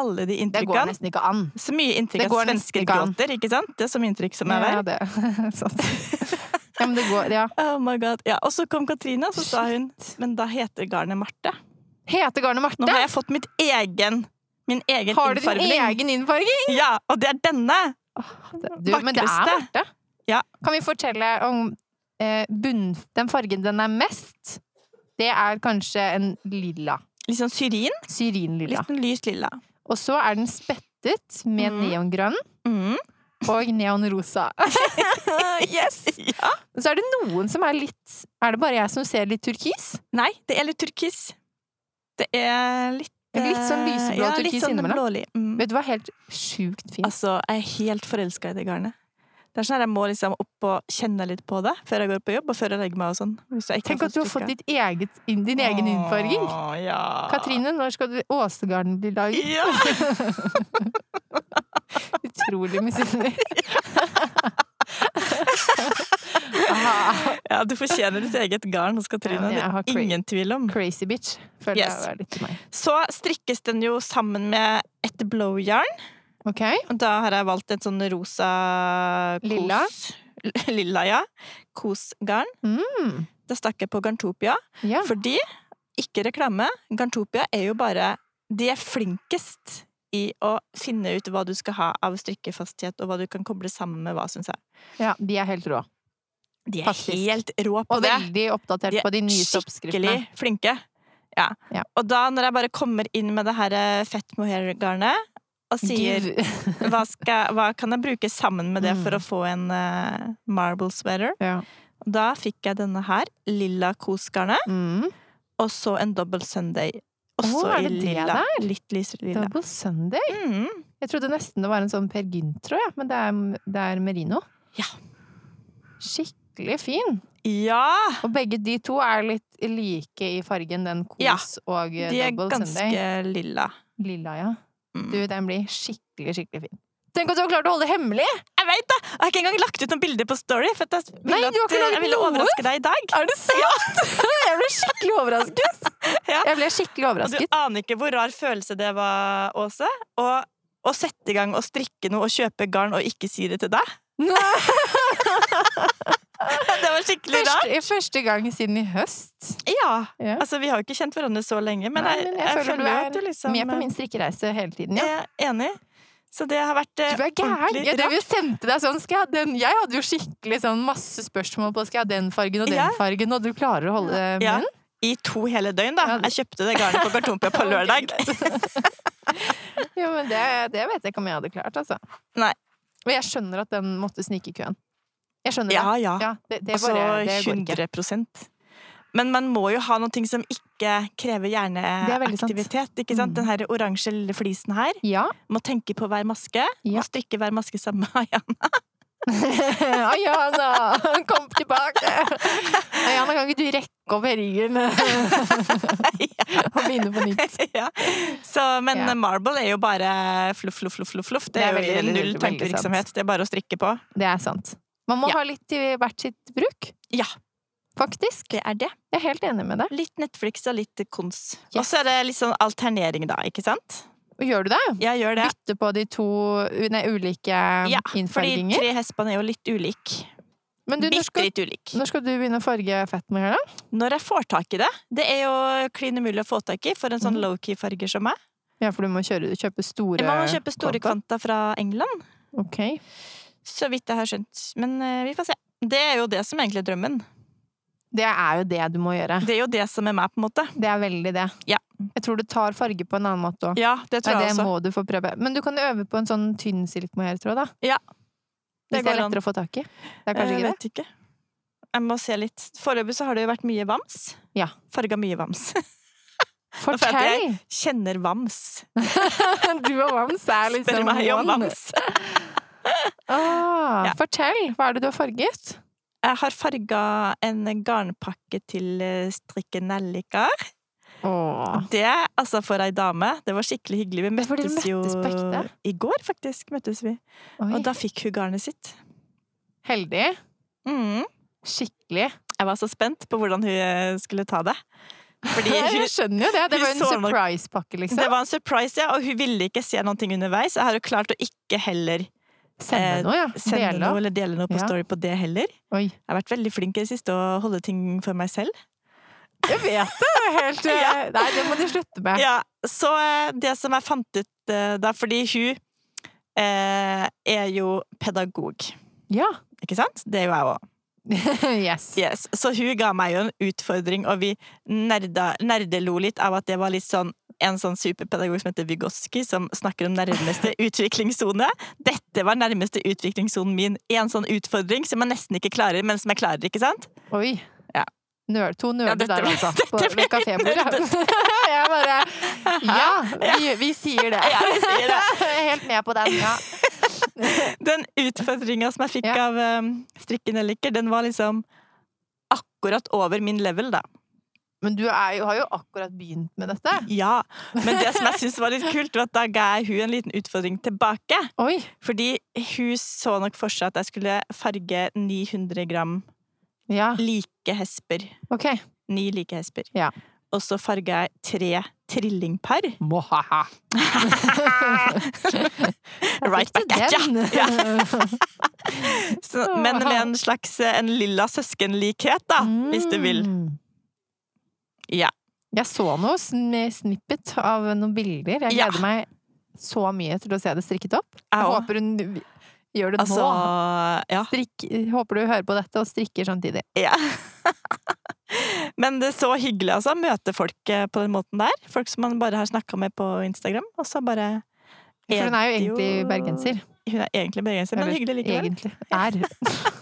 Speaker 1: alle de
Speaker 2: Det går
Speaker 1: inntrykkene.
Speaker 2: nesten ikke an.
Speaker 1: Så mye inntrykk
Speaker 2: Det
Speaker 1: at
Speaker 2: går nesten
Speaker 1: svensker
Speaker 2: ikke an.
Speaker 1: gråter, ikke sant? Det er så mye inntrykk som er
Speaker 2: Ja,
Speaker 1: der.
Speaker 2: det. Sant. Ja, men det går Ja.
Speaker 1: Oh my god. Ja, og så kom Katrine, og så sa hun Men da heter garnet Marte.
Speaker 2: Heter garnet
Speaker 1: Nå
Speaker 2: Marte?
Speaker 1: har jeg fått mitt egen Min egen
Speaker 2: Har du din
Speaker 1: innfargning.
Speaker 2: egen innfarging?
Speaker 1: Ja, og det er denne!
Speaker 2: Du, men det er
Speaker 1: Vakreste.
Speaker 2: Marte.
Speaker 1: Ja.
Speaker 2: Kan vi fortelle om eh, bunn, den fargen den er mest? Det er kanskje en lilla.
Speaker 1: Litt sånn syrin.
Speaker 2: Syrinlilla.
Speaker 1: Litt sånn lyst lilla.
Speaker 2: Og så er den spettet med
Speaker 1: Mhm.
Speaker 2: neongrønn
Speaker 1: Mm.
Speaker 2: og neonrosa. yes!
Speaker 1: Ja.
Speaker 2: Og så er det noen som er litt Er det bare jeg som ser litt turkis?
Speaker 1: Nei, det er litt turkis. Det er litt
Speaker 2: Litt sånn
Speaker 1: eh,
Speaker 2: lyseblå
Speaker 1: ja,
Speaker 2: turkis
Speaker 1: litt sånn
Speaker 2: innimellom.
Speaker 1: blålig. Mm.
Speaker 2: Vet du hva, helt sjukt fint.
Speaker 1: Altså, jeg er helt forelska i det garnet. Det er sånn at Jeg må liksom opp og kjenne litt på det før jeg går på jobb og før jeg legger meg. og sånn. Hvis jeg ikke
Speaker 2: Tenk at du har fått
Speaker 1: strikka.
Speaker 2: ditt eget, din egen innfarging.
Speaker 1: Åh, Ja.
Speaker 2: Katrine, når skal du Åsegarden bli laget?
Speaker 1: Ja.
Speaker 2: Utrolig misunnelig. Aha,
Speaker 1: ja, du fortjener ditt eget garn hos
Speaker 2: Ja,
Speaker 1: Katrine.
Speaker 2: men jeg har
Speaker 1: det er
Speaker 2: cra-
Speaker 1: ingen tvil om.
Speaker 2: crazy bitch. Føler
Speaker 1: Yes.
Speaker 2: jeg er litt meg.
Speaker 1: Så strikkes den jo sammen med et blowjarn.
Speaker 2: Ok,
Speaker 1: Og Da har jeg valgt et sånn rosa kos.
Speaker 2: Lilla?
Speaker 1: Lilla, ja. Kosgarn.
Speaker 2: Mm.
Speaker 1: Da stakk jeg på Garntopia.
Speaker 2: ja.
Speaker 1: Fordi, ikke reklame, Garntopia er jo bare De er flinkest i å finne ut hva du skal ha av strikkefasthet, og hva du kan koble sammen med hva, syns jeg.
Speaker 2: ja, de er helt rå.
Speaker 1: De er
Speaker 2: Faktisk.
Speaker 1: helt rå på
Speaker 2: Og
Speaker 1: det.
Speaker 2: veldig oppdatert
Speaker 1: De er
Speaker 2: på de nyeste
Speaker 1: Skikkelig
Speaker 2: oppskriftene.
Speaker 1: flinke. Ja.
Speaker 2: Ja.
Speaker 1: Og da, når jeg bare kommer inn med det her eh, fett mohair-garnet, og sier
Speaker 2: Gud.
Speaker 1: hva, skal, hva kan jeg bruke sammen med det
Speaker 2: Mm.
Speaker 1: for å få en eh, marble sweater?
Speaker 2: Ja.
Speaker 1: Da fikk jeg denne her, lilla kosgarnet.
Speaker 2: Mm.
Speaker 1: og så en double Sunday. Også
Speaker 2: Å, er det
Speaker 1: i
Speaker 2: det
Speaker 1: lilla. Litt lys lilla.
Speaker 2: Double Sunday.
Speaker 1: Mm.
Speaker 2: Jeg trodde nesten det var en sånn Per Gynt-tråd, ja. men det er, det er merino.
Speaker 1: Ja.
Speaker 2: Skikkelig fin.
Speaker 1: Ja!
Speaker 2: Og begge de to er litt like i fargen, den kos
Speaker 1: Ja,
Speaker 2: og eh,
Speaker 1: De er
Speaker 2: double
Speaker 1: ganske
Speaker 2: Sunday.
Speaker 1: lilla.
Speaker 2: Lilla, ja.
Speaker 1: Mm.
Speaker 2: Du, den blir skikkelig, skikkelig fin. Tenk at du har klart å holde det hemmelig!
Speaker 1: Jeg vet det! Jeg har ikke engang lagt ut noen bilder på Story. For at jeg, ville
Speaker 2: Nei, du har
Speaker 1: at,
Speaker 2: ikke
Speaker 1: eh,
Speaker 2: laget
Speaker 1: jeg ville
Speaker 2: noe?
Speaker 1: overraske deg i dag.
Speaker 2: Er det sant?! Jeg ble skikkelig overrasket!
Speaker 1: Ja.
Speaker 2: Jeg ble skikkelig
Speaker 1: Og du
Speaker 2: overrasket.
Speaker 1: aner ikke hvor rar følelse det var, Åse. Og å sette i gang og strikke noe og kjøpe garn og ikke si det til deg.
Speaker 2: Nei,
Speaker 1: Det var skikkelig rart.
Speaker 2: første, første gang siden i høst.
Speaker 1: Ja.
Speaker 2: Ja.
Speaker 1: Altså, vi har jo ikke kjent hverandre så lenge, men,
Speaker 2: Nei,
Speaker 1: jeg,
Speaker 2: men
Speaker 1: jeg, føler jo at du liksom
Speaker 2: Med på min strikkereise hele tiden, ja.
Speaker 1: eh, er enig. Så det har vært eh,
Speaker 2: Du er gæren!
Speaker 1: ordentlig
Speaker 2: Jeg drev jo og sendte deg sånn skal jeg, ha den? jeg hadde jo skikkelig sånn masse spørsmål på skal jeg ha den fargen og den
Speaker 1: Ja.
Speaker 2: fargen, og du klarer å holde det med
Speaker 1: Ja,
Speaker 2: den?
Speaker 1: I to hele døgn, da.
Speaker 2: Ja, det-
Speaker 1: Jeg kjøpte det garnet på Kartonpia på lørdag.
Speaker 2: Jo, men det, det vet jeg ikke om jeg hadde klart, altså.
Speaker 1: Nei.
Speaker 2: Og jeg skjønner at den måtte snike i køen. Jeg skjønner
Speaker 1: Ja,
Speaker 2: det.
Speaker 1: ja.
Speaker 2: Ja, det, det,
Speaker 1: Altså
Speaker 2: bare, det går ikke.
Speaker 1: 100 Men man må jo ha noe som ikke krever
Speaker 2: er veldig sant.
Speaker 1: hjerneaktivitet. ikke sant?
Speaker 2: Mm.
Speaker 1: Den her oransje lille flisen her.
Speaker 2: Ja.
Speaker 1: Må tenke på hver maske.
Speaker 2: Ja.
Speaker 1: Må strikke hver maske samme. Ja.
Speaker 2: Ayana, altså. kom tilbake! Ayana, kan ikke du rekke opp ryggen og begynne på nytt?
Speaker 1: ja. Så, men
Speaker 2: Ja.
Speaker 1: marble er jo bare fluff, fluff, fluff. fluff, fluff. Det
Speaker 2: Det
Speaker 1: er
Speaker 2: er
Speaker 1: jo
Speaker 2: veldig,
Speaker 1: null
Speaker 2: veldig, veldig
Speaker 1: tankevirksomhet. Det er bare å strikke på.
Speaker 2: Det er sant. Man må
Speaker 1: Ja.
Speaker 2: ha litt i hvert sitt bruk.
Speaker 1: Ja.
Speaker 2: Faktisk.
Speaker 1: Det er det.
Speaker 2: Jeg er helt enig med deg.
Speaker 1: Litt Netflix og litt kons.
Speaker 2: Yes.
Speaker 1: Og så er det litt sånn alternering, da, ikke sant?
Speaker 2: Og Gjør du det?
Speaker 1: Jeg gjør det.
Speaker 2: Bytte på de to nei, ulike mm,
Speaker 1: Ja, fordi
Speaker 2: innfarginger?
Speaker 1: tre hestbånd er jo litt ulik.
Speaker 2: Men du,
Speaker 1: Bitte
Speaker 2: når skal,
Speaker 1: litt ulik.
Speaker 2: når skal du begynne å farge fetma her, da?
Speaker 1: Når jeg får tak i det Det er jo klin umulig å få tak i for en sånn
Speaker 2: Mhm.
Speaker 1: low-key-farger som meg.
Speaker 2: Ja, for du må kjøre, kjøpe store
Speaker 1: Man må kjøpe store
Speaker 2: kvanta.
Speaker 1: kvanta fra England,
Speaker 2: Ok.
Speaker 1: så vidt jeg har skjønt. Men eh, vi får se. Det er jo det som egentlig er drømmen.
Speaker 2: Det er jo det du må gjøre.
Speaker 1: Det er jo det som er meg, på en måte.
Speaker 2: Det er veldig det.
Speaker 1: Ja.
Speaker 2: Jeg tror du tar farge på en annen måte òg.
Speaker 1: Ja, det tror
Speaker 2: Nei,
Speaker 1: jeg
Speaker 2: det
Speaker 1: også.
Speaker 2: må du få prøve. Men du kan øve på en sånn tynn silkmohairtråd, da.
Speaker 1: Ja.
Speaker 2: Hvis
Speaker 1: Det
Speaker 2: det er
Speaker 1: går an.
Speaker 2: lettere å få tak i. Det er kanskje
Speaker 1: Eh, jeg
Speaker 2: ikke det?
Speaker 1: vet ikke. Jeg må se litt. Foreløpig så har det jo vært mye vams.
Speaker 2: Ja.
Speaker 1: Farga mye vams. får jeg
Speaker 2: Fortell!
Speaker 1: Kjenner vams.
Speaker 2: Du og Vams er liksom
Speaker 1: Spør meg om
Speaker 2: one.
Speaker 1: vams.
Speaker 2: Ah,
Speaker 1: Ja.
Speaker 2: Fortell! Hva er det du har farget?
Speaker 1: Jeg har farga en garnpakke til eh, strikken nelliker.
Speaker 2: Åh.
Speaker 1: Det, altså, for ei dame. Det var skikkelig hyggelig. Vi
Speaker 2: Ja, for dere
Speaker 1: møttes jo
Speaker 2: møttes på ekte?
Speaker 1: i går, faktisk. møttes vi.
Speaker 2: Oi.
Speaker 1: Og da fikk hun garnet sitt.
Speaker 2: Heldig.
Speaker 1: Mm.
Speaker 2: Skikkelig.
Speaker 1: Jeg var så spent på hvordan hun eh, skulle ta det. Fordi hun,
Speaker 2: Jeg skjønner jo det. Det
Speaker 1: hun
Speaker 2: var jo en
Speaker 1: så nok-
Speaker 2: surprise-pakke, liksom.
Speaker 1: det var en surprise, ja, og hun ville ikke se noe underveis. Jeg har jo klart å ikke heller eh,
Speaker 2: Sende noe, ja.
Speaker 1: sende
Speaker 2: Dele.
Speaker 1: noe eller dele noe på
Speaker 2: Ja.
Speaker 1: story på det heller.
Speaker 2: Oi.
Speaker 1: Jeg har vært veldig flink i det siste å holde ting for meg selv.
Speaker 2: Jeg vet det! det er Helt, eh, Nei, det må du slutte med.
Speaker 1: Ja, så eh, det som jeg fant ut eh, da, fordi hun eh, er jo pedagog,
Speaker 2: Ja.
Speaker 1: ikke sant? Det er jo jeg òg.
Speaker 2: yes.
Speaker 1: Yes. Så hun ga meg jo en utfordring, og vi nerda, nerdelo litt av at det var litt sånn en sånn superpedagog som heter Vygotsky, som snakker om nærmeste utviklingssone. Dette var nærmeste utviklingssonen min. En sånn utfordring som jeg nesten ikke klarer, men som jeg klarer, ikke sant?
Speaker 2: Oi.
Speaker 1: Ja.
Speaker 2: Nør, to nerder
Speaker 1: Ja, dette
Speaker 2: der,
Speaker 1: ble-
Speaker 2: altså. På
Speaker 1: dette ble
Speaker 2: ved kafébordet. Jeg bare Ja, vi, vi sier det.
Speaker 1: Ja, vi sier det.
Speaker 2: Jeg er helt med på den. Ja.
Speaker 1: Den utfordringa som jeg fikk
Speaker 2: Ja.
Speaker 1: av um, strikken jeg liker, den var liksom akkurat over min level, da.
Speaker 2: Men du er jo, har jo akkurat begynt med dette.
Speaker 1: Ja. Men det som jeg syntes var litt kult, var at da ga jeg hun en liten utfordring tilbake.
Speaker 2: Oi.
Speaker 1: Fordi hun så nok for seg at jeg skulle farge 900 gram
Speaker 2: Ja,
Speaker 1: like hesper.
Speaker 2: OK.
Speaker 1: Ni like hesper.
Speaker 2: Ja.
Speaker 1: Og så farga jeg tre trillingpar.
Speaker 2: Mohaha.
Speaker 1: Right back at ya! Ja. Så, men med en slags eh, en lilla søskenlikhet, da,
Speaker 2: Mm.
Speaker 1: hvis du vil. Ja.
Speaker 2: Jeg så noe sn- snippet av noen bilder. Jeg
Speaker 1: Ja.
Speaker 2: gleder meg så mye til å se det strikket opp. Jeg
Speaker 1: Jeg òg.
Speaker 2: håper hun gjør det
Speaker 1: Altså
Speaker 2: nå.
Speaker 1: Ja.
Speaker 2: Strikk, håper du hører på dette og strikker samtidig.
Speaker 1: ja. Men det er så hyggelig, altså. å Møte folk eh, på den måten der. Folk som man bare har snakka med på Instagram. Og så bare
Speaker 2: For hun er jo egentlig
Speaker 1: jo-
Speaker 2: bergenser.
Speaker 1: Hun er egentlig bergenser, men
Speaker 2: Eller,
Speaker 1: hyggelig likevel.
Speaker 2: Egentlig. Er.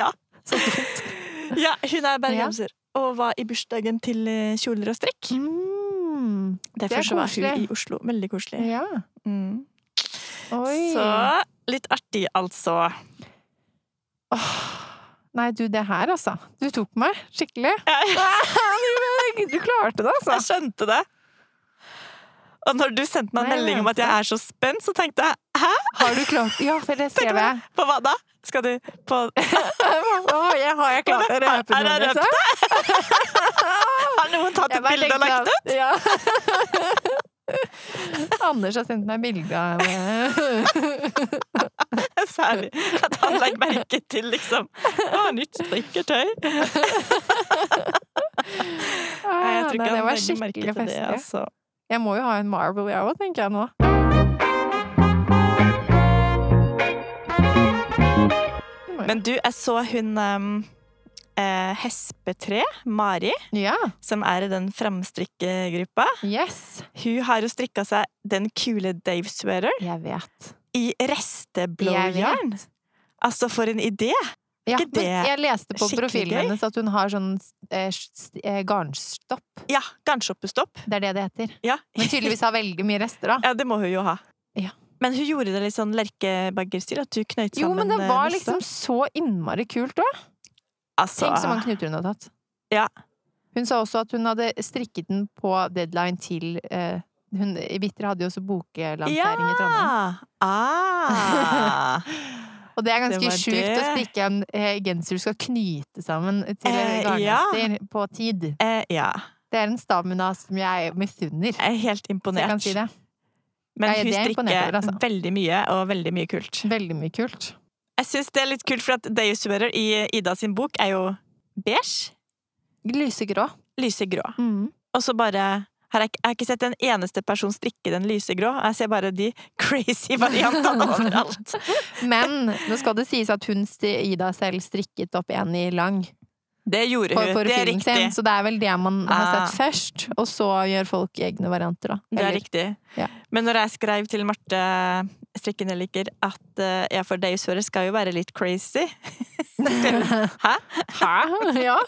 Speaker 1: Ja.
Speaker 2: Så dumt.
Speaker 1: ja, hun er bergenser. Og var i bursdagen til eh, kjoler og strikk.
Speaker 2: Mm.
Speaker 1: Derfor så var hun
Speaker 2: koselig.
Speaker 1: i Oslo. Veldig koselig.
Speaker 2: Ja.
Speaker 1: Mm.
Speaker 2: Oi.
Speaker 1: Så litt artig, altså.
Speaker 2: Åh. Nei, du, det her, altså. Du tok meg skikkelig.
Speaker 1: Jeg,
Speaker 2: Du klarte det, altså.
Speaker 1: jeg skjønte det. Og når du sendte meg en
Speaker 2: Nei, jeg
Speaker 1: melding om at jeg
Speaker 2: mente.
Speaker 1: er så spent, så tenkte jeg hæ?
Speaker 2: Har du klart Ja, for det skrev jeg.
Speaker 1: På hva da? Skal du på
Speaker 2: Åh, jeg har jeg klart å røpe
Speaker 1: Har jeg
Speaker 2: noe?
Speaker 1: røpt
Speaker 2: liksom?
Speaker 1: Har noen tatt et
Speaker 2: bare
Speaker 1: bilde og
Speaker 2: tenkte
Speaker 1: lagt det?
Speaker 2: at- Ja. Anders har sendt meg bilde av eh,
Speaker 1: Særlig. At han legger merke til, liksom. Å, nytt strikketøy. Ah, Nei, jeg tror
Speaker 2: Nei,
Speaker 1: ikke
Speaker 2: det
Speaker 1: han
Speaker 2: var
Speaker 1: legger merke
Speaker 2: skikkelig
Speaker 1: til det,
Speaker 2: festlig.
Speaker 1: altså.
Speaker 2: Jeg må jo ha en Marvel, jeg òg, tenker jeg nå.
Speaker 1: Men du, jeg så hun ehm, eh, Hespetre, Mari,
Speaker 2: Ja.
Speaker 1: som er i den framstrikkegruppa.
Speaker 2: Yes.
Speaker 1: Hun har jo strikka seg den kule Dave Sweater
Speaker 2: Jeg vet.
Speaker 1: i resteblåjern. Altså, for en idé!
Speaker 2: Ja,
Speaker 1: Ikke
Speaker 2: men
Speaker 1: det
Speaker 2: jeg leste på
Speaker 1: skikkelig
Speaker 2: profilen
Speaker 1: gøy?
Speaker 2: hennes at hun har sånn eh, st- eh, garnstopp.
Speaker 1: Ja, garnshoppestopp.
Speaker 2: Det er det det heter.
Speaker 1: Ja.
Speaker 2: Men tydeligvis har veldig mye rester, da.
Speaker 1: ja, det må hun jo ha.
Speaker 2: Ja.
Speaker 1: Men hun gjorde det litt sånn lerkebaggerstil, at hun knøyt sammen
Speaker 2: Jo, men det
Speaker 1: eh,
Speaker 2: var
Speaker 1: masse.
Speaker 2: liksom så innmari kult òg.
Speaker 1: altså,
Speaker 2: Tenk så mange knuter hun har tatt.
Speaker 1: Ja.
Speaker 2: Hun sa også at hun hadde strikket den på deadline til eh, hun, Vitter hadde jo også boklansering i Trondheim.
Speaker 1: Ah!
Speaker 2: Og det er ganske
Speaker 1: Det var
Speaker 2: sjukt å
Speaker 1: det.
Speaker 2: stikke en eh, genser du skal knyte sammen til en
Speaker 1: Eh, ja.
Speaker 2: garnnøster på tid.
Speaker 1: Eh, ja.
Speaker 2: Det er en stamina som jeg misunner.
Speaker 1: Jeg er helt
Speaker 2: hvis Jeg
Speaker 1: imponert.
Speaker 2: kan si det.
Speaker 1: Men
Speaker 2: Jeg-
Speaker 1: hun
Speaker 2: det er imponert
Speaker 1: strikker
Speaker 2: over, altså.
Speaker 1: veldig mye, og veldig mye kult.
Speaker 2: Veldig mye kult.
Speaker 1: Jeg syns det er litt kult, for at Deus Wearer i Ida sin bok er jo beige,
Speaker 2: Lysegrå.
Speaker 1: lysegrå.
Speaker 2: Mm.
Speaker 1: Og så bare her har jeg, ikke- jeg har ikke sett en eneste person strikke den lysegrå. Jeg ser bare de crazy variantene overalt.
Speaker 2: Men nå skal det sies at hun, sti- Ida selv strikket opp en i lang
Speaker 1: Det gjorde
Speaker 2: for,
Speaker 1: hun.
Speaker 2: for
Speaker 1: det er
Speaker 2: filmen sin,
Speaker 1: riktig.
Speaker 2: så det er vel det man har
Speaker 1: Ah.
Speaker 2: sett først. Og så gjør folk egne varianter, da.
Speaker 1: Det er
Speaker 2: Eller-
Speaker 1: riktig.
Speaker 2: Ja.
Speaker 1: Men når jeg skrev til Marte Strikken jeg liker, at eh, jeg for Deus Wearer skal jo være litt crazy Hæ?
Speaker 2: Hæ? Ja.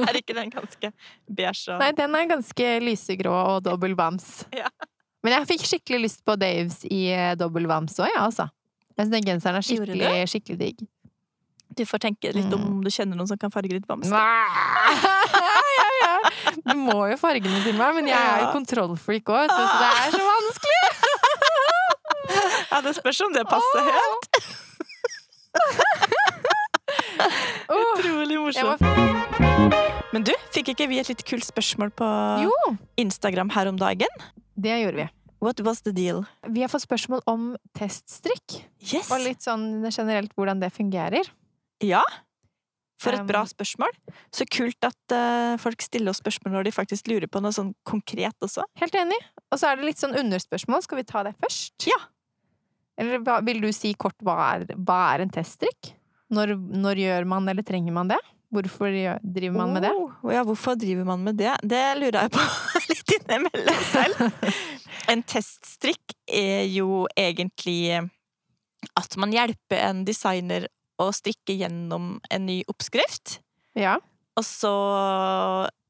Speaker 1: Er ikke den ganske beige og
Speaker 2: Nei, den er ganske lysegrå og dobbel vams.
Speaker 1: Ja.
Speaker 2: Men jeg fikk skikkelig lyst på Daves i eh, dobbel vams òg, ja, altså. Jeg syns den genseren er
Speaker 1: Gjorde du?
Speaker 2: skikkelig, skikkelig digg.
Speaker 1: Du får tenke litt om
Speaker 2: Mm.
Speaker 1: om du kjenner noen som kan farge litt bamse.
Speaker 2: ja, ja. Du må jo fargene til meg, men jeg er jo
Speaker 1: Ja.
Speaker 2: kontrollfreak òg, så så det er så vanskelig!
Speaker 1: Ja, det spørs om det Ah, passer helt.
Speaker 2: Åh,
Speaker 1: Utrolig
Speaker 2: jeg
Speaker 1: morsomt.
Speaker 2: var...
Speaker 1: Men du, fikk ikke vi et litt kult spørsmål på
Speaker 2: Jo,
Speaker 1: Instagram her om dagen?
Speaker 2: det gjorde vi.
Speaker 1: What was the deal?
Speaker 2: Vi har fått spørsmål om teststrikk.
Speaker 1: Yes!
Speaker 2: Og litt sånn generelt hvordan det fungerer.
Speaker 1: Ja. For et
Speaker 2: Um,
Speaker 1: bra spørsmål. Så kult at eh, folk stiller oss spørsmål når de faktisk lurer på noe sånn konkret også.
Speaker 2: Helt enig. Og så er det litt sånn underspørsmål. Skal vi ta det først?
Speaker 1: Ja.
Speaker 2: Eller hva- vil du si kort hva er, hva er en teststrikk? Når, når gjør man eller trenger man det? Hvorfor gjør- driver man med det?
Speaker 1: Oh, ja, hvorfor driver man med det? Det lurer jeg på litt innimellom Oh, selv. En teststrikk er jo egentlig at man hjelper en designer å strikke gjennom en ny oppskrift.
Speaker 2: Ja.
Speaker 1: Og så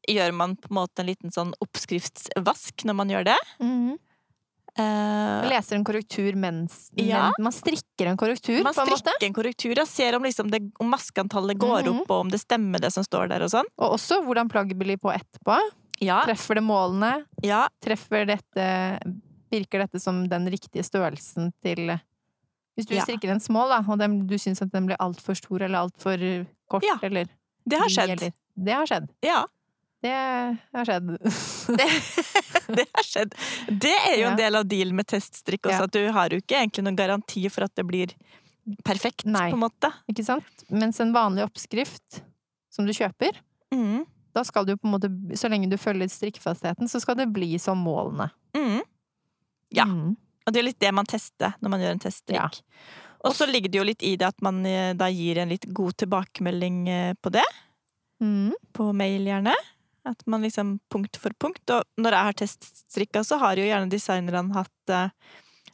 Speaker 1: gjør man på en måte en liten sånn oppskriftsvask når man gjør det.
Speaker 2: Mhm. Man
Speaker 1: Eh,
Speaker 2: leser en korrektur mens
Speaker 1: Ja.
Speaker 2: men, Man strikker en korrektur,
Speaker 1: man
Speaker 2: på en måte.
Speaker 1: strikker en korrektur og ser om, liksom det, om maskeantallet går
Speaker 2: Mhm.
Speaker 1: opp, og om det stemmer det som står der og sånn.
Speaker 2: Og også hvordan plagget blir på etterpå.
Speaker 1: Ja,
Speaker 2: Treffer det målene?
Speaker 1: ja,
Speaker 2: Treffer dette Virker dette som den riktige størrelsen til Hvis du
Speaker 1: Ja.
Speaker 2: strikker en small, da, og den, du syns at den blir altfor stor eller altfor kort,
Speaker 1: Ja.
Speaker 2: eller
Speaker 1: det har
Speaker 2: Vi,
Speaker 1: skjedd.
Speaker 2: eller- Det har skjedd.
Speaker 1: Ja,
Speaker 2: Det har skjedd.
Speaker 1: det har skjedd. Det er jo
Speaker 2: Ja.
Speaker 1: en del av dealen med teststrikk også,
Speaker 2: Ja.
Speaker 1: at du har jo ikke egentlig noen garanti for at det blir perfekt,
Speaker 2: Nei.
Speaker 1: på en måte.
Speaker 2: Ikke sant? Mens en vanlig oppskrift som du kjøper,
Speaker 1: Mhm.
Speaker 2: da skal du på en måte, så lenge du følger strikkefastheten, så skal det bli som målene.
Speaker 1: Mhm. Ja.
Speaker 2: Mm.
Speaker 1: Og det er jo litt det man tester når man gjør en teststrikk. Og så ligger det jo litt i det at man eh, da gir en litt god tilbakemelding eh, på det.
Speaker 2: Mm.
Speaker 1: på mail, gjerne. At man liksom punkt for punkt. Og når jeg har teststrikka, så har jo gjerne designerne hatt, eh,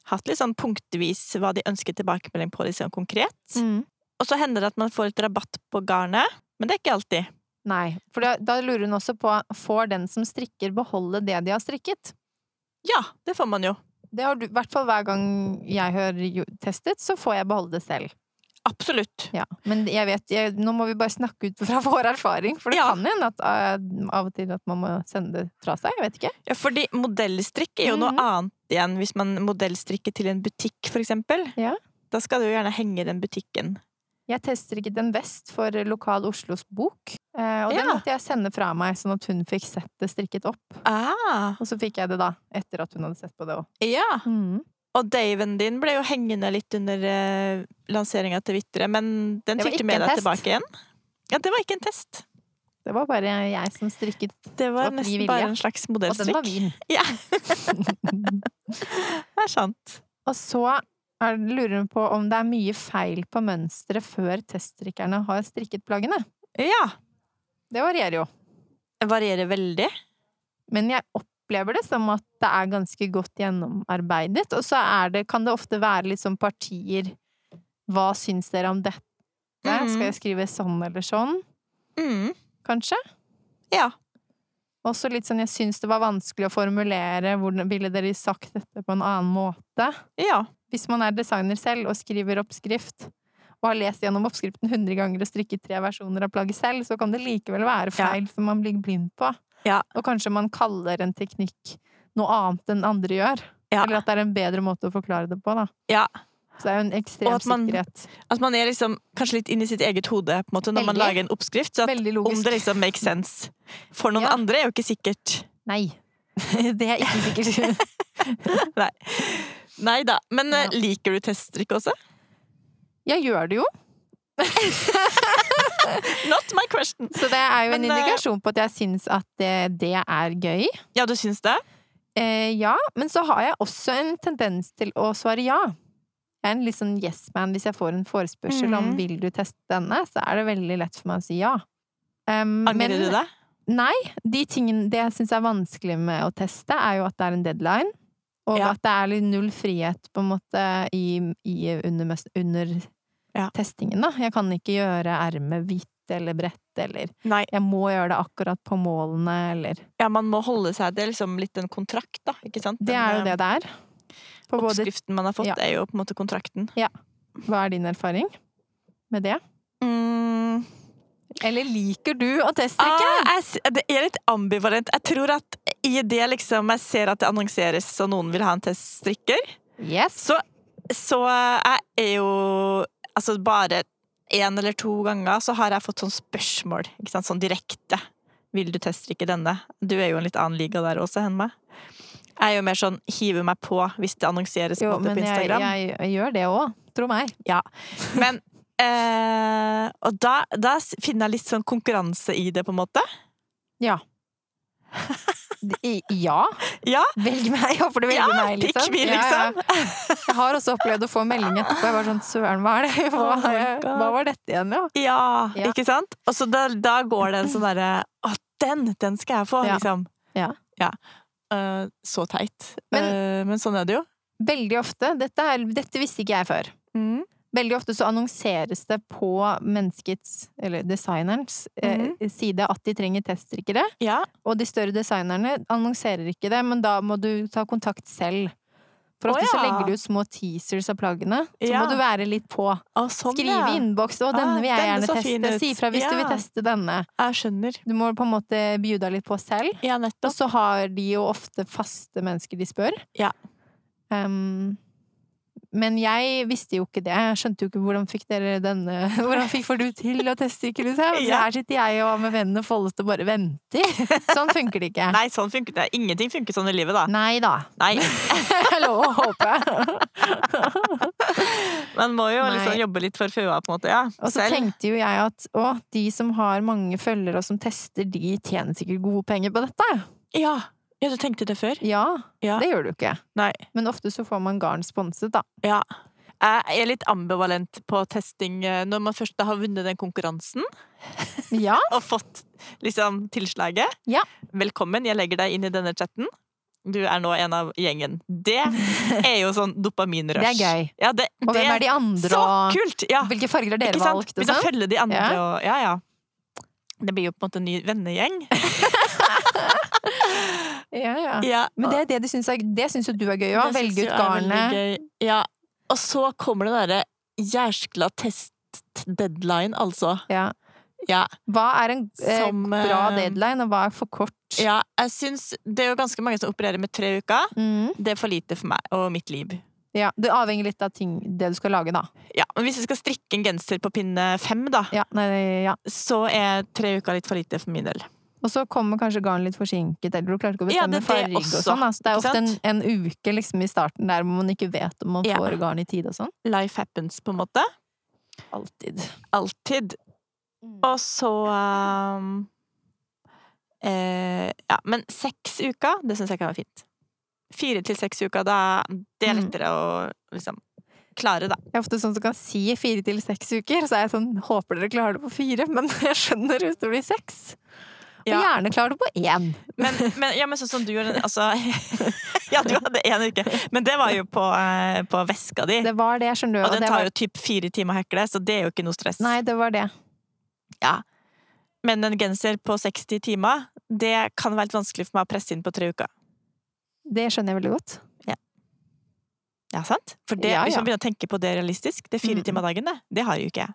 Speaker 1: hatt litt sånn punktvis hva de ønsker tilbakemelding på, litt sånn konkret.
Speaker 2: Mm.
Speaker 1: Og så hender det at man får litt rabatt på garnet, men det er ikke alltid.
Speaker 2: Nei. For da, da lurer hun også på får den som strikker, beholde det de har strikket.
Speaker 1: Ja, det får man jo.
Speaker 2: Det har du, i hvert fall hver gang jeg hører jo- testet, så får jeg beholde det selv.
Speaker 1: Absolutt.
Speaker 2: Ja. Men jeg vet, jeg, nå må vi bare snakke ut fra vår erfaring, for det
Speaker 1: Ja.
Speaker 2: kan hende at eh, av og til at man må sende det fra seg. Jeg vet ikke.
Speaker 1: Ja, fordi modellstrikk er jo noe
Speaker 2: Mhm.
Speaker 1: annet igjen hvis man modellstrikker til en butikk, for eksempel.
Speaker 2: Ja.
Speaker 1: Da skal du jo gjerne henge den butikken.
Speaker 2: Jeg teststrikket en vest for Lokal Oslos bok, eh, og den
Speaker 1: Ja.
Speaker 2: måtte jeg sende fra meg, sånn at hun fikk sett det strikket opp.
Speaker 1: Ah,
Speaker 2: Og så fikk jeg det da, etter at hun hadde sett på det òg.
Speaker 1: ja. Og Daven din ble jo hengende litt under uh, lanseringa til Vitre, men den
Speaker 2: Det var
Speaker 1: fikk du
Speaker 2: ikke
Speaker 1: med deg
Speaker 2: en test.
Speaker 1: tilbake igjen. Ja, det var ikke en test.
Speaker 2: Det var bare jeg som strikket,
Speaker 1: Det var
Speaker 2: At vi
Speaker 1: nesten
Speaker 2: ville.
Speaker 1: bare en slags
Speaker 2: og den var
Speaker 1: modellstrikk.
Speaker 2: min.
Speaker 1: Ja. Det er sant.
Speaker 2: og så er, lurer hun på om det er mye feil på mønsteret før teststrikkerne har strikket plaggene.
Speaker 1: Ja.
Speaker 2: Det varierer jo.
Speaker 1: Det varierer veldig.
Speaker 2: Men jeg opplever det som at det er ganske godt gjennomarbeidet. Og så er det, kan det ofte være litt sånn partier Hva syns dere om dette?
Speaker 1: Mhm.
Speaker 2: Skal jeg skrive sånn eller sånn?
Speaker 1: Mm.
Speaker 2: Kanskje?
Speaker 1: Ja.
Speaker 2: Også litt sånn jeg syns det var vanskelig å formulere. Hvordan ville dere sagt dette på en annen måte?
Speaker 1: Ja.
Speaker 2: Hvis man er designer selv og skriver oppskrift, og har lest gjennom oppskriften 100 ganger og strikket tre versjoner av plagget selv, så kan det likevel være
Speaker 1: Ja.
Speaker 2: feil som man blir blind på.
Speaker 1: Ja.
Speaker 2: Og kanskje man kaller en teknikk noe annet enn andre gjør.
Speaker 1: Ja.
Speaker 2: Eller at det er en bedre måte å forklare det på, da.
Speaker 1: Ja.
Speaker 2: Så det er jo en
Speaker 1: Og
Speaker 2: ekstrem
Speaker 1: at man-
Speaker 2: sikkerhet.
Speaker 1: At man er liksom kanskje litt inni sitt eget hode på en måte, når man
Speaker 2: Veldig.
Speaker 1: lager en oppskrift. Så at
Speaker 2: Veldig
Speaker 1: om
Speaker 2: logisk.
Speaker 1: det liksom makes sense for noen
Speaker 2: Ja.
Speaker 1: andre, er jo ikke sikkert.
Speaker 2: Nei. Det er ikke sikkert.
Speaker 1: Nei da. Men eh,
Speaker 2: Ja.
Speaker 1: liker du teststrikk også?
Speaker 2: Jeg gjør det jo,
Speaker 1: Not my question!
Speaker 2: så det er jo en
Speaker 1: Men, eh,
Speaker 2: indikasjon på at jeg syns at det, det er gøy.
Speaker 1: Ja, du syns det?
Speaker 2: Eh, ja, men så har jeg også en tendens til å svare ja. Jeg er en litt sånn yes man hvis jeg får en forespørsel om
Speaker 1: Mhm.
Speaker 2: vil du teste denne, så er det veldig lett for meg å si ja. Um,
Speaker 1: Angrer du det?
Speaker 2: Nei. De tingene, det jeg syns er vanskelig med å teste, er jo at det er en deadline. Og
Speaker 1: Ja.
Speaker 2: at det er litt null frihet, på en måte, i, i under, møs- under
Speaker 1: Ja.
Speaker 2: testingen, da. Jeg kan ikke gjøre ermet hvitt eller bredt, eller
Speaker 1: Nei.
Speaker 2: jeg må gjøre det akkurat på målene, eller
Speaker 1: Ja, man må holde seg Det er liksom litt en kontrakt, da. Ikke sant? eh,
Speaker 2: Det er jo det det er. På både
Speaker 1: Oppskriften man har fått,
Speaker 2: Ja.
Speaker 1: er jo på en måte kontrakten.
Speaker 2: Hva er din erfaring med det?
Speaker 1: Mm.
Speaker 2: Eller liker du å teststrikke?
Speaker 1: Ah, jeg, s- det er litt ambivalent. Jeg tror at i det liksom jeg ser at det annonseres og noen vil ha en teststrikker,
Speaker 2: Yes.
Speaker 1: så, så jeg er jo Altså bare én eller to ganger så har jeg fått sånn spørsmål, ikke sant, sånn direkte. Vil du teststrikke denne? Du er jo en litt annen liga der også enn meg. Jeg er jo mer sånn hiver meg på hvis det annonseres på,
Speaker 2: Jo,
Speaker 1: en måte
Speaker 2: men
Speaker 1: på
Speaker 2: jeg,
Speaker 1: Instagram.
Speaker 2: jeg, jeg gjør det òg. Tro meg.
Speaker 1: Men eh, Og da, da s- finner jeg litt sånn konkurranse i det, på en måte.
Speaker 2: D- i- Ja.
Speaker 1: Ja.
Speaker 2: Velg meg. Jeg håper du velger
Speaker 1: Ja,
Speaker 2: meg,
Speaker 1: Pikk
Speaker 2: liksom.
Speaker 1: me,
Speaker 2: Ja, ja.
Speaker 1: liksom.
Speaker 2: Jeg har også opplevd å få en melding etterpå. Jeg var sånn Søren, hva er det? Hva,
Speaker 1: Oh my God.
Speaker 2: hva var dette igjen, ja?
Speaker 1: Ja,
Speaker 2: Ja.
Speaker 1: ikke sant? Og så da, da går det en sånn derre Å, den! Den skal jeg få,
Speaker 2: Ja.
Speaker 1: liksom.
Speaker 2: Ja.
Speaker 1: Eh, så teit.
Speaker 2: Men-
Speaker 1: Men, men sånn er det jo.
Speaker 2: Veldig ofte. Dette, er, dette visste ikke jeg før. Veldig ofte så annonseres det på menneskets, eller designerens,
Speaker 1: Mhm.
Speaker 2: eh, side at de trenger teststrikkere.
Speaker 1: Ja.
Speaker 2: Og de større designerne annonserer ikke det, men da må du ta kontakt selv. For
Speaker 1: Å,
Speaker 2: ofte så
Speaker 1: ja.
Speaker 2: legger du ut små teasers av plaggene. Så
Speaker 1: Ja.
Speaker 2: må du være litt på.
Speaker 1: Å, sånn,
Speaker 2: Skriv
Speaker 1: ja.
Speaker 2: i innboks 'Å, denne
Speaker 1: Ah,
Speaker 2: vil jeg
Speaker 1: denne
Speaker 2: gjerne
Speaker 1: så fin
Speaker 2: teste'.
Speaker 1: ut.
Speaker 2: Si ifra hvis du vil
Speaker 1: Ja.
Speaker 2: teste denne.
Speaker 1: Jeg skjønner.
Speaker 2: Du må på en måte bjuda litt på selv.
Speaker 1: Ja,
Speaker 2: Og
Speaker 1: nettopp.
Speaker 2: så har de jo ofte faste mennesker de spør.
Speaker 1: Ja.
Speaker 2: Ehm, men jeg visste jo ikke det. Jeg skjønte jo ikke hvordan fikk dere denne Hvordan fikk får du til å teste, ikke liksom? Så
Speaker 1: Ja.
Speaker 2: her sitter jeg og har med vennene foldet og bare venter. Sånn funker det ikke.
Speaker 1: Nei, sånn funket det. Ingenting funket sånn i livet, da.
Speaker 2: Nei da.
Speaker 1: Nei.
Speaker 2: Jeg lover å håpe.
Speaker 1: Man må jo
Speaker 2: Nei.
Speaker 1: liksom jobbe litt for føa, på en måte. Ja.
Speaker 2: Og så tenkte jo jeg at å, de som har mange følgere og som tester, de tjener sikkert gode penger på dette.
Speaker 1: ja. ja, du tenkte det før?
Speaker 2: Ja,
Speaker 1: Ja.
Speaker 2: det gjør du ikke.
Speaker 1: Nei.
Speaker 2: Men ofte så får man garn sponset, da.
Speaker 1: Ja. Jeg er litt ambivalent på testing eh, når man først da har vunnet den konkurransen
Speaker 2: Ja.
Speaker 1: og fått liksom tilslaget.
Speaker 2: Ah. Ja.
Speaker 1: Velkommen, jeg legger deg inn i denne chatten. Du er nå en av gjengen. Det er jo sånn dopaminrush.
Speaker 2: Det er gøy.
Speaker 1: Ja, det,
Speaker 2: Og
Speaker 1: det
Speaker 2: hvem er de andre,
Speaker 1: så
Speaker 2: og
Speaker 1: kult! Ja,
Speaker 2: hvilke farger har
Speaker 1: ikke
Speaker 2: dere
Speaker 1: sant?
Speaker 2: valgt? Og
Speaker 1: Begynne å
Speaker 2: sånn?
Speaker 1: følge de andre
Speaker 2: Ja.
Speaker 1: og Ja, ja. Det blir jo på en måte en ny vennegjeng.
Speaker 2: Ja, ja.
Speaker 1: Ja,
Speaker 2: Men det er det de syns er Det syns jo du er gøy
Speaker 1: og
Speaker 2: òg.
Speaker 1: det synes
Speaker 2: Velge ut
Speaker 1: jeg er veldig
Speaker 2: garnet.
Speaker 1: gøy. Ja. Og så kommer det derre jæskla test-deadline, altså.
Speaker 2: Ja.
Speaker 1: Ja.
Speaker 2: Hva er en eh,
Speaker 1: Som, eh,
Speaker 2: bra deadline, og hva er for kort?
Speaker 1: Ja, jeg syns Det er jo ganske mange som opererer med tre uker.
Speaker 2: Mm.
Speaker 1: Det er for lite for meg og mitt liv.
Speaker 2: ja. Det avhenger litt av ting, det du skal lage, da.
Speaker 1: Ja, men Hvis jeg skal strikke en genser på pinne fem, da,
Speaker 2: Ja, nei, ja.
Speaker 1: så er tre uker litt for lite for min del.
Speaker 2: Og så kommer kanskje garnet litt forsinket, eller du klarer ikke å
Speaker 1: Ja, det
Speaker 2: bestemme
Speaker 1: er det
Speaker 2: farge og
Speaker 1: også,
Speaker 2: sånn. da. Så det er
Speaker 1: ikke
Speaker 2: ofte en, en uke liksom, i starten der hvor man ikke vet om man
Speaker 1: Ja.
Speaker 2: får garn i tide og sånn.
Speaker 1: Life happens, på en måte.
Speaker 2: Alltid.
Speaker 1: Alltid. Og så um, eh, Ja, men seks uker, det syns jeg kan være fint. Fire til seks uker, da det er
Speaker 2: Mm.
Speaker 1: lettere å liksom klare, da.
Speaker 2: Jeg er ofte sånn som kan si fire til seks uker, så er jeg sånn Håper dere klarer det på fire, men jeg skjønner hvis det blir seks. Og
Speaker 1: Ja.
Speaker 2: gjerne klarer det på én.
Speaker 1: Men, men, ja, men sånn som du gjorde altså, Ja, du hadde én uke, men det var jo på, eh, på veska di.
Speaker 2: Det var det, skjønner du.
Speaker 1: Og den
Speaker 2: det
Speaker 1: tar
Speaker 2: var,
Speaker 1: jo typ fire timer å hekle, så det er jo ikke noe stress.
Speaker 2: Nei, det var det.
Speaker 1: Men en genser på 60 timer, det kan være litt vanskelig for meg å presse inn på tre uker.
Speaker 2: Det skjønner jeg veldig godt.
Speaker 1: Ja, sant? For det,
Speaker 2: Ja,
Speaker 1: hvis
Speaker 2: ja.
Speaker 1: man begynner å tenke på det realistisk, det er fire
Speaker 2: Mm.
Speaker 1: timer dagen, det. Det har jo ikke jeg.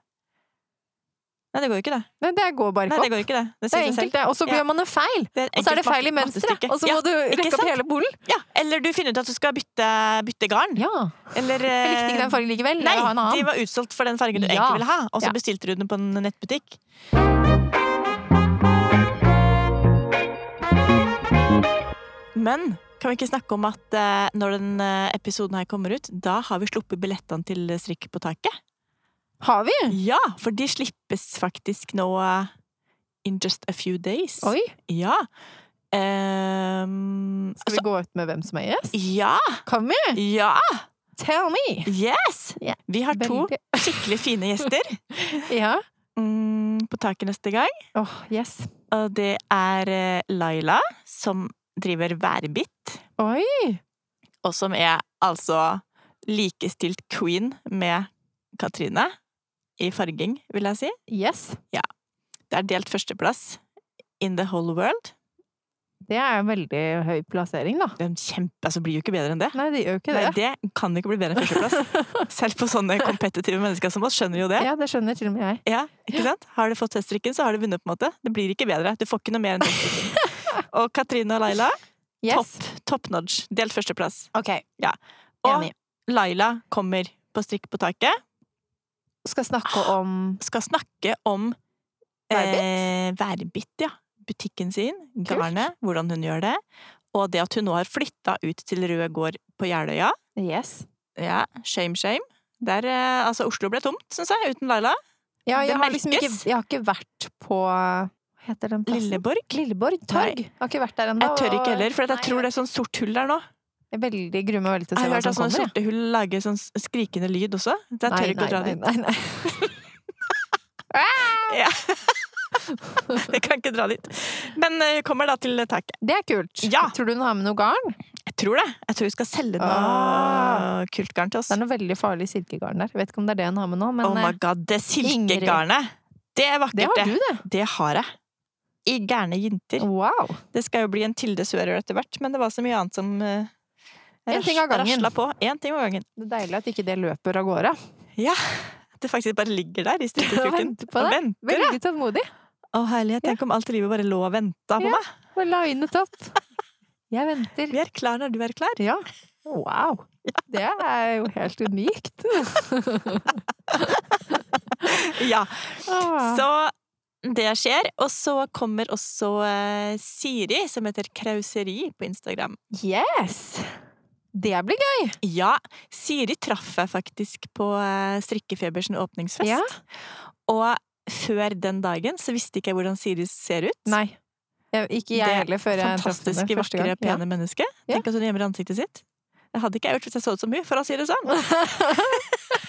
Speaker 1: Nei, det går jo ikke, det.
Speaker 2: Nei, det går bare
Speaker 1: Nei,
Speaker 2: ikke
Speaker 1: det
Speaker 2: opp.
Speaker 1: går jo ikke det. Det
Speaker 2: Det er
Speaker 1: sier seg selv.
Speaker 2: enkelt, det. Og så
Speaker 1: Ja.
Speaker 2: gjør man en feil.
Speaker 1: Det et
Speaker 2: Og så er det
Speaker 1: enkelt
Speaker 2: feil i
Speaker 1: mat-
Speaker 2: mønsteret.
Speaker 1: mattestykke.
Speaker 2: Og så
Speaker 1: ja.
Speaker 2: må du rekke opp
Speaker 1: sant?
Speaker 2: hele bolen.
Speaker 1: ja. Eller du finner ut at du skal bytte, bytte garn.
Speaker 2: Ja.
Speaker 1: Eller eh,
Speaker 2: Jeg likte ikke den fargen likevel.
Speaker 1: Nei,
Speaker 2: jeg vil ha en
Speaker 1: de
Speaker 2: annen.
Speaker 1: var utsolgt for den fargen du
Speaker 2: Ja.
Speaker 1: egentlig ville ha, og så
Speaker 2: Ja.
Speaker 1: bestilte du den på en nettbutikk. Men kan vi ikke snakke om at eh, når den eh, episoden her kommer ut, da har vi sluppet billettene til Strikk på taket?
Speaker 2: Har vi?
Speaker 1: Ja, for de slippes faktisk nå eh, in just a few days.
Speaker 2: Oi.
Speaker 1: Ja. Ehm,
Speaker 2: Skal vi gå ut med hvem som er gjest?
Speaker 1: ja!
Speaker 2: Kan vi?
Speaker 1: Ja!
Speaker 2: Tell me!
Speaker 1: Yes!
Speaker 2: Ja.
Speaker 1: Vi har to
Speaker 2: Veldig-
Speaker 1: skikkelig fine gjester
Speaker 2: Ja.
Speaker 1: mm, på taket neste gang.
Speaker 2: Åh, yes.
Speaker 1: Og det er eh, Laila, som driver Værbit,
Speaker 2: Oi!
Speaker 1: og som er altså likestilt queen med Katrine i farging, vil jeg si.
Speaker 2: Yes.
Speaker 1: Det er delt førsteplass in the whole world.
Speaker 2: Det er en veldig høy plassering, da.
Speaker 1: Den kjempe, altså blir jo ikke bedre enn det.
Speaker 2: Nei, det gjør jo ikke
Speaker 1: Nei,
Speaker 2: det.
Speaker 1: det kan ikke bli bedre enn førsteplass. Selv på sånne kompetitive mennesker som oss skjønner jo det.
Speaker 2: Ja, det skjønner til og med jeg.
Speaker 1: Ja, ikke sant? Har du fått teststrikken, så har du vunnet. på en måte. Det blir ikke bedre. Du får ikke noe mer enn teststrikken. Og Katrine og Laila,
Speaker 2: Yes.
Speaker 1: topp top notch. Delt førsteplass.
Speaker 2: Ok,
Speaker 1: Og
Speaker 2: enig.
Speaker 1: Laila kommer på Strikk på taket.
Speaker 2: Skal snakke
Speaker 1: Ah.
Speaker 2: om
Speaker 1: Skal snakke om eh, Værbit, ja. Butikken sin, garnet, hvordan hun gjør det. Og det at hun nå har flytta ut til Rød gård på Jeløya.
Speaker 2: Yes.
Speaker 1: Ja, shame, shame. Der, eh, altså, Oslo ble tomt, syns jeg, uten Laila.
Speaker 2: Ja,
Speaker 1: Det
Speaker 2: jeg har liksom ikke,
Speaker 1: merkes.
Speaker 2: jeg har ikke vært på Hva heter den plassen?
Speaker 1: Lilleborg.
Speaker 2: Lilleborg torg. Jeg har ikke vært der ennå.
Speaker 1: Jeg tør ikke heller, for jeg
Speaker 2: Nei,
Speaker 1: tror det er sånn sort hull der nå.
Speaker 2: Jeg er veldig gruer meg veldig til å
Speaker 1: Jeg
Speaker 2: se
Speaker 1: har
Speaker 2: hva
Speaker 1: hørt at
Speaker 2: som
Speaker 1: sånne
Speaker 2: kommer. jeg.
Speaker 1: sorte hull lager sånn skrikende lyd også. Så jeg
Speaker 2: Nei,
Speaker 1: tør ikke å dra
Speaker 2: nei,
Speaker 1: dit.
Speaker 2: nei, nei,
Speaker 1: Jeg kan ikke dra dit. Men eh, hun kommer da til taket.
Speaker 2: nei. Det er kult.
Speaker 1: Ja.
Speaker 2: Tror du hun har med noe garn?
Speaker 1: Jeg tror det. Jeg tror hun skal selge noe
Speaker 2: Ah.
Speaker 1: kult garn til oss.
Speaker 2: Det er noe veldig farlig silkegarn der. Jeg vet ikke om det er det hun har med nå, men
Speaker 1: oh my
Speaker 2: eh,
Speaker 1: god, det silkegarnet! Det er
Speaker 2: det
Speaker 1: vakkert,
Speaker 2: har
Speaker 1: det.
Speaker 2: du, det.
Speaker 1: Det har jeg. I gærne jenter.
Speaker 2: Wow.
Speaker 1: Det skal jo bli en Tilde Sører etter hvert, men det var så mye annet som uh,
Speaker 2: En ting av gangen.
Speaker 1: rasla på. En ting av gangen.
Speaker 2: Det er deilig at ikke det løper av gårde.
Speaker 1: At det faktisk bare ligger der i strikkekroken
Speaker 2: venter på
Speaker 1: og
Speaker 2: det.
Speaker 1: venter.
Speaker 2: Veldig tålmodig.
Speaker 1: Å herlighet, tenk om alt i livet bare lå og venta på
Speaker 2: Ja.
Speaker 1: meg.
Speaker 2: Og linet opp. Jeg venter.
Speaker 1: Vi er klar når du er klar.
Speaker 2: Ja. Wow. Det er jo helt unikt.
Speaker 1: Ja.
Speaker 2: Ah.
Speaker 1: Så det skjer. Og så kommer også eh, Siri, som heter Krauseri på Instagram.
Speaker 2: Yes! Det blir gøy!
Speaker 1: Ja, Siri traff jeg faktisk på eh, Strikkefebersen åpningsfest.
Speaker 2: Ja.
Speaker 1: Og før den dagen så visste ikke jeg hvordan Siri ser ut.
Speaker 2: Nei. Jeg, ikke jeg
Speaker 1: Det
Speaker 2: heller, før jeg traff henne
Speaker 1: Fantastiske,
Speaker 2: første
Speaker 1: vakre,
Speaker 2: gang.
Speaker 1: pene menneske.
Speaker 2: Ja.
Speaker 1: Tenk at hun gjemmer ansiktet sitt. Det hadde ikke jeg gjort hvis jeg så ut som hun, for å si det sånn.
Speaker 2: Ja.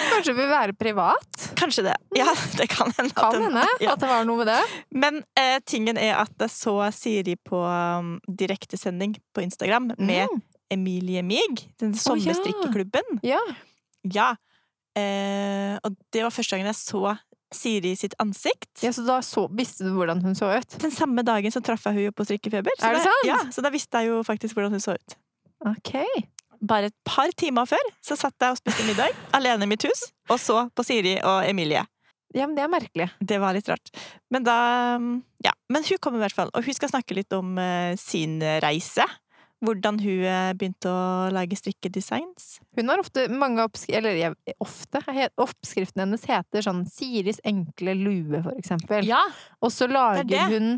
Speaker 2: Kanskje vi vil være privat?
Speaker 1: Kanskje det. Ja, det kan hende. at
Speaker 2: Kan
Speaker 1: hun-
Speaker 2: hende
Speaker 1: ja.
Speaker 2: at det var noe med det.
Speaker 1: Men eh, tingen er at jeg så Siri på um, direktesending på Instagram med
Speaker 2: Mm.
Speaker 1: Emilie Mig, den sommerstrikkeklubben.
Speaker 2: Ja.
Speaker 1: Ja. Eh, og det var første gangen jeg så Siri sitt ansikt.
Speaker 2: ja, Så da så, visste du hvordan hun så ut?
Speaker 1: Den samme dagen så traff jeg henne på Strikkefeber. Så
Speaker 2: Er det
Speaker 1: da-
Speaker 2: sant?
Speaker 1: Ja, så da visste jeg jo faktisk hvordan hun så ut.
Speaker 2: Ok.
Speaker 1: Bare et par timer før så satt jeg og spiste middag alene i mitt hus, og så på Siri og Emilie.
Speaker 2: Ja, men det er merkelig.
Speaker 1: Det var litt rart. Men da um, Ja. Men hun kommer i hvert fall, og hun skal snakke litt om eh, sin reise. Hvordan hun eh, begynte å lage strikkedesigns.
Speaker 2: Hun har ofte mange oppskri Eller jeg, ofte. he- Oppskriften hennes heter sånn Siris enkle lue, for eksempel.
Speaker 1: Ja,
Speaker 2: Og så
Speaker 1: Det
Speaker 2: lager
Speaker 1: er
Speaker 2: hun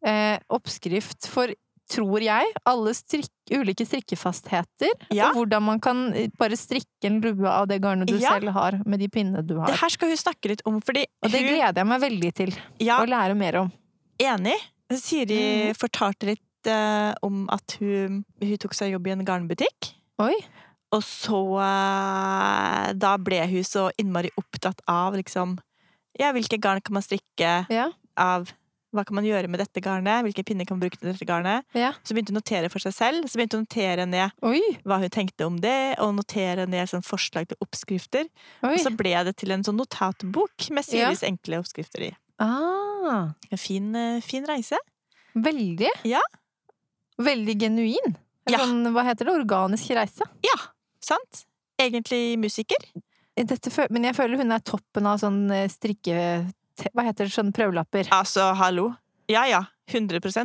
Speaker 2: eh, oppskrift for, tror jeg, alle strikk, ulike strikkefastheter.
Speaker 1: Ja.
Speaker 2: Og hvordan man kan eh, bare strikke en lue av det garnet du
Speaker 1: Ja.
Speaker 2: selv har, med de pinnene du
Speaker 1: Det
Speaker 2: har.
Speaker 1: her skal hun snakke litt om, fordi
Speaker 2: Og det
Speaker 1: hun
Speaker 2: gleder jeg meg veldig til
Speaker 1: ja,
Speaker 2: å lære mer om.
Speaker 1: enig.
Speaker 2: Mm.
Speaker 1: Siri fortalte litt eh, om at hun, hun tok seg jobb i en garnbutikk.
Speaker 2: Oi!
Speaker 1: Og så eh, Da ble hun så innmari opptatt av liksom Ja, hvilke garn kan man strikke
Speaker 2: Ja.
Speaker 1: av? Hva kan man gjøre med dette garnet? Hvilke pinner kan man bruke til dette garnet?
Speaker 2: Ja.
Speaker 1: Så begynte hun å notere for seg selv. Så begynte hun å notere ned
Speaker 2: Oi!
Speaker 1: hva hun tenkte om det, og notere ned sånn forslag til oppskrifter.
Speaker 2: Oi!
Speaker 1: Og så ble det til en sånn notatbok med
Speaker 2: Ja.
Speaker 1: Siris enkle oppskrifter i.
Speaker 2: Ah,
Speaker 1: En fin, eh, fin reise.
Speaker 2: veldig.
Speaker 1: Ja.
Speaker 2: Veldig genuin.
Speaker 1: Ja.
Speaker 2: Sånn, hva heter det? Organisk reise.
Speaker 1: Sant? Egentlig musiker.
Speaker 2: Dette, fø- men jeg føler hun er toppen av sånn eh, strikke... te- hva heter det, sånne prøvelapper.
Speaker 1: Altså, hallo. Ja ja, 100 Det
Speaker 2: Kanskje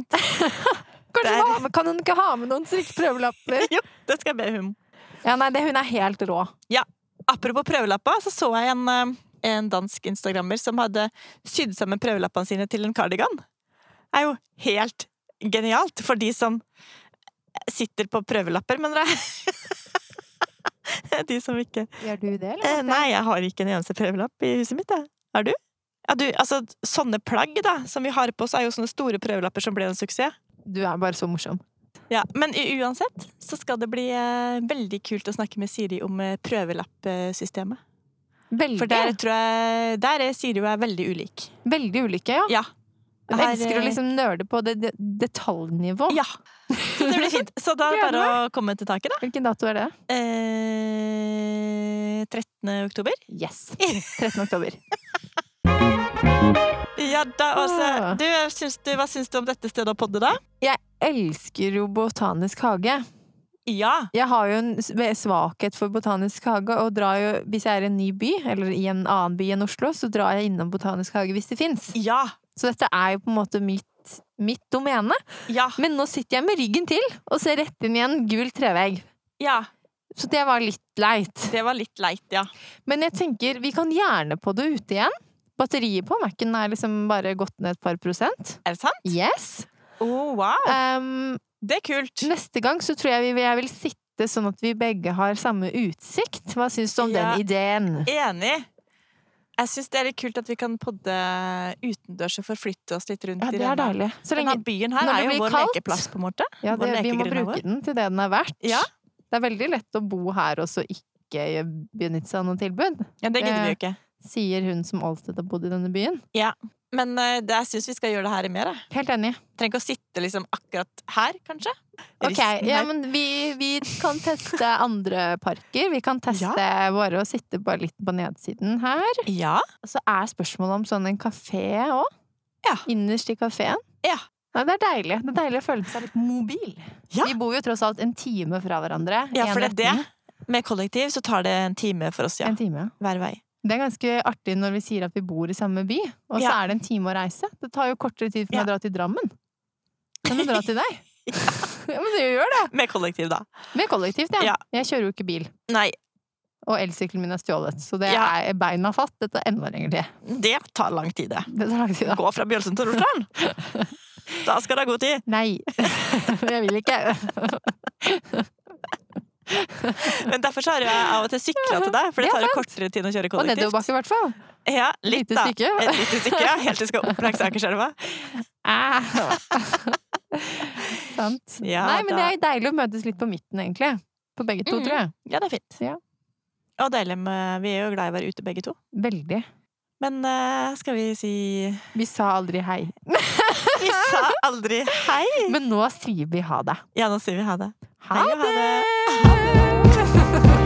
Speaker 1: der-
Speaker 2: hun har med, Kan hun ikke ha med noen strikk prøvelapper?
Speaker 1: skal jeg be hun om.
Speaker 2: Ja, nei, det, hun er helt rå.
Speaker 1: Apropos prøvelappa, så så jeg en, eh, en dansk instagrammer som hadde sydd sammen prøvelappene sine til en kardigan. Det er jo helt genialt for de som sitter på prøvelapper, mener jeg. de som ikke
Speaker 2: Gjør du det, eller?
Speaker 1: eh, Nei, jeg har ikke en eneste prøvelapp i huset mitt, jeg. Har du? Ja, du, altså, sånne plagg da, som vi har på oss, er jo sånne store prøvelapper som ble en suksess.
Speaker 2: Du er bare så morsom.
Speaker 1: Ja, Men u- uansett så skal det bli eh, veldig kult å snakke med Siri om eh, prøvelappsystemet.
Speaker 2: Veldig,
Speaker 1: For der tror jeg Der er Siri og jeg veldig ulik.
Speaker 2: veldig ulike, ja.
Speaker 1: Ja.
Speaker 2: Hun
Speaker 1: Her,
Speaker 2: elsker å
Speaker 1: eh,
Speaker 2: liksom nøle på det, det detaljnivå.
Speaker 1: ja. Så det blir fint. Så da er det bare å komme til taket, da.
Speaker 2: Hvilken dato er det?
Speaker 1: Eh, 13. oktober.
Speaker 2: Yes. 13. oktober.
Speaker 1: Ja da, Åse.
Speaker 2: Ah.
Speaker 1: Du, syns du, hva syns du om dette stedet å podde, da?
Speaker 2: Elsker jo botanisk hage.
Speaker 1: Ja.
Speaker 2: Jeg har jo en s- svakhet for botanisk hage, og drar jo, hvis jeg er i en ny by, eller i en annen by enn Oslo, så drar jeg innom botanisk hage hvis det fins.
Speaker 1: Ja.
Speaker 2: Så dette er jo på en måte mitt, mitt domene.
Speaker 1: Ja.
Speaker 2: Men nå sitter jeg med ryggen til, og ser rett inn i en gul trevegg.
Speaker 1: ja.
Speaker 2: Så det var litt leit.
Speaker 1: Det var litt leit, ja.
Speaker 2: Men jeg tenker, vi kan gjerne på det ute igjen. Batteriet på Mac-en er liksom bare gått ned et par prosent.
Speaker 1: Er det sant?
Speaker 2: Yes!
Speaker 1: Oh, wow.
Speaker 2: Um,
Speaker 1: Det er kult.
Speaker 2: neste gang så tror jeg vi, jeg vil sitte sånn at vi begge har samme utsikt. Hva syns du om
Speaker 1: Ja.
Speaker 2: den ideen?
Speaker 1: Enig. Jeg syns det er litt kult at vi kan podde utendørs og forflytte oss litt rundt
Speaker 2: Ja,
Speaker 1: i
Speaker 2: det er
Speaker 1: denne,
Speaker 2: deilig. Så
Speaker 1: denne
Speaker 2: lenge,
Speaker 1: byen her.
Speaker 2: når det
Speaker 1: er jo
Speaker 2: blir
Speaker 1: vår
Speaker 2: kaldt.
Speaker 1: lekeplass, på en måte.
Speaker 2: ja,
Speaker 1: vår
Speaker 2: det, vi må
Speaker 1: lekegrunnen vår.
Speaker 2: bruke den til det den er verdt.
Speaker 1: Ja.
Speaker 2: Det er veldig lett å bo her og så ikke benytte seg av noe tilbud,
Speaker 1: Ja, det gidder
Speaker 2: Eh.
Speaker 1: vi jo ikke.
Speaker 2: sier hun som alltid har bodd i denne byen.
Speaker 1: Men eh, det, jeg syns vi skal gjøre det her i mer. jeg.
Speaker 2: Helt enig.
Speaker 1: Trenger ikke å sitte liksom akkurat her, kanskje.
Speaker 2: Ok,
Speaker 1: Risten
Speaker 2: ja,
Speaker 1: her.
Speaker 2: men vi, vi kan teste andre parker. Vi kan teste bare å sitte bare litt på nedsiden her.
Speaker 1: ja.
Speaker 2: Og Så er spørsmålet om sånn en kafé òg.
Speaker 1: Ja.
Speaker 2: Innerst i kafeen.
Speaker 1: Ja.
Speaker 2: Nei, det er deilig. Det er deilig å føle seg litt mobil.
Speaker 1: Ja.
Speaker 2: Vi bor jo tross alt en time fra hverandre.
Speaker 1: ja,
Speaker 2: En
Speaker 1: for det er
Speaker 2: retning.
Speaker 1: det. Med kollektiv så tar det en time for oss, ja.
Speaker 2: En time.
Speaker 1: Hver vei.
Speaker 2: Det er ganske artig når vi sier at vi bor i samme by, og så
Speaker 1: Ja.
Speaker 2: er det en time å reise. Det tar jo kortere tid for
Speaker 1: Ja.
Speaker 2: meg å dra til Drammen enn å dra til deg. ja, men det gjør det!
Speaker 1: Med kollektiv, da.
Speaker 2: Med kollektivt,
Speaker 1: Ja.
Speaker 2: ja. Jeg kjører jo ikke bil.
Speaker 1: Nei,
Speaker 2: Og elsykkelen min er stjålet, så det
Speaker 1: Ja.
Speaker 2: er beina fatt. Dette er enda lenger til.
Speaker 1: det tar lang tid, det.
Speaker 2: Det tar lang tid, da.
Speaker 1: Gå fra Bjølsen til Rostrand! da skal det ha god tid.
Speaker 2: Nei, jeg vil ikke.
Speaker 1: Men derfor så har jeg av og til sykla til deg, for det
Speaker 2: Ja,
Speaker 1: tar jo
Speaker 2: sant.
Speaker 1: kortere tid å kjøre
Speaker 2: Og
Speaker 1: kollektivt.
Speaker 2: nedoverbakke, i hvert fall.
Speaker 1: Ja, litt,
Speaker 2: Lite
Speaker 1: da.
Speaker 2: stykke.
Speaker 1: Et lite stykke, ja. Helt til du skal opp langs Akerselva.
Speaker 2: Ah. Sant.
Speaker 1: Ja,
Speaker 2: Nei, men det
Speaker 1: da.
Speaker 2: er deilig å møtes litt på midten, egentlig. På begge to,
Speaker 1: Mhm.
Speaker 2: tror jeg.
Speaker 1: Ja, det er fint.
Speaker 2: Ja.
Speaker 1: Og deilig med Vi er jo glad i å være ute, begge to.
Speaker 2: Veldig.
Speaker 1: Men eh, skal vi si
Speaker 2: Vi sa aldri hei.
Speaker 1: Vi sa aldri hei!
Speaker 2: Men nå sier vi ha det.
Speaker 1: Ja, nå sier vi ha det.
Speaker 2: Ha
Speaker 1: Hei og ha det.
Speaker 2: det!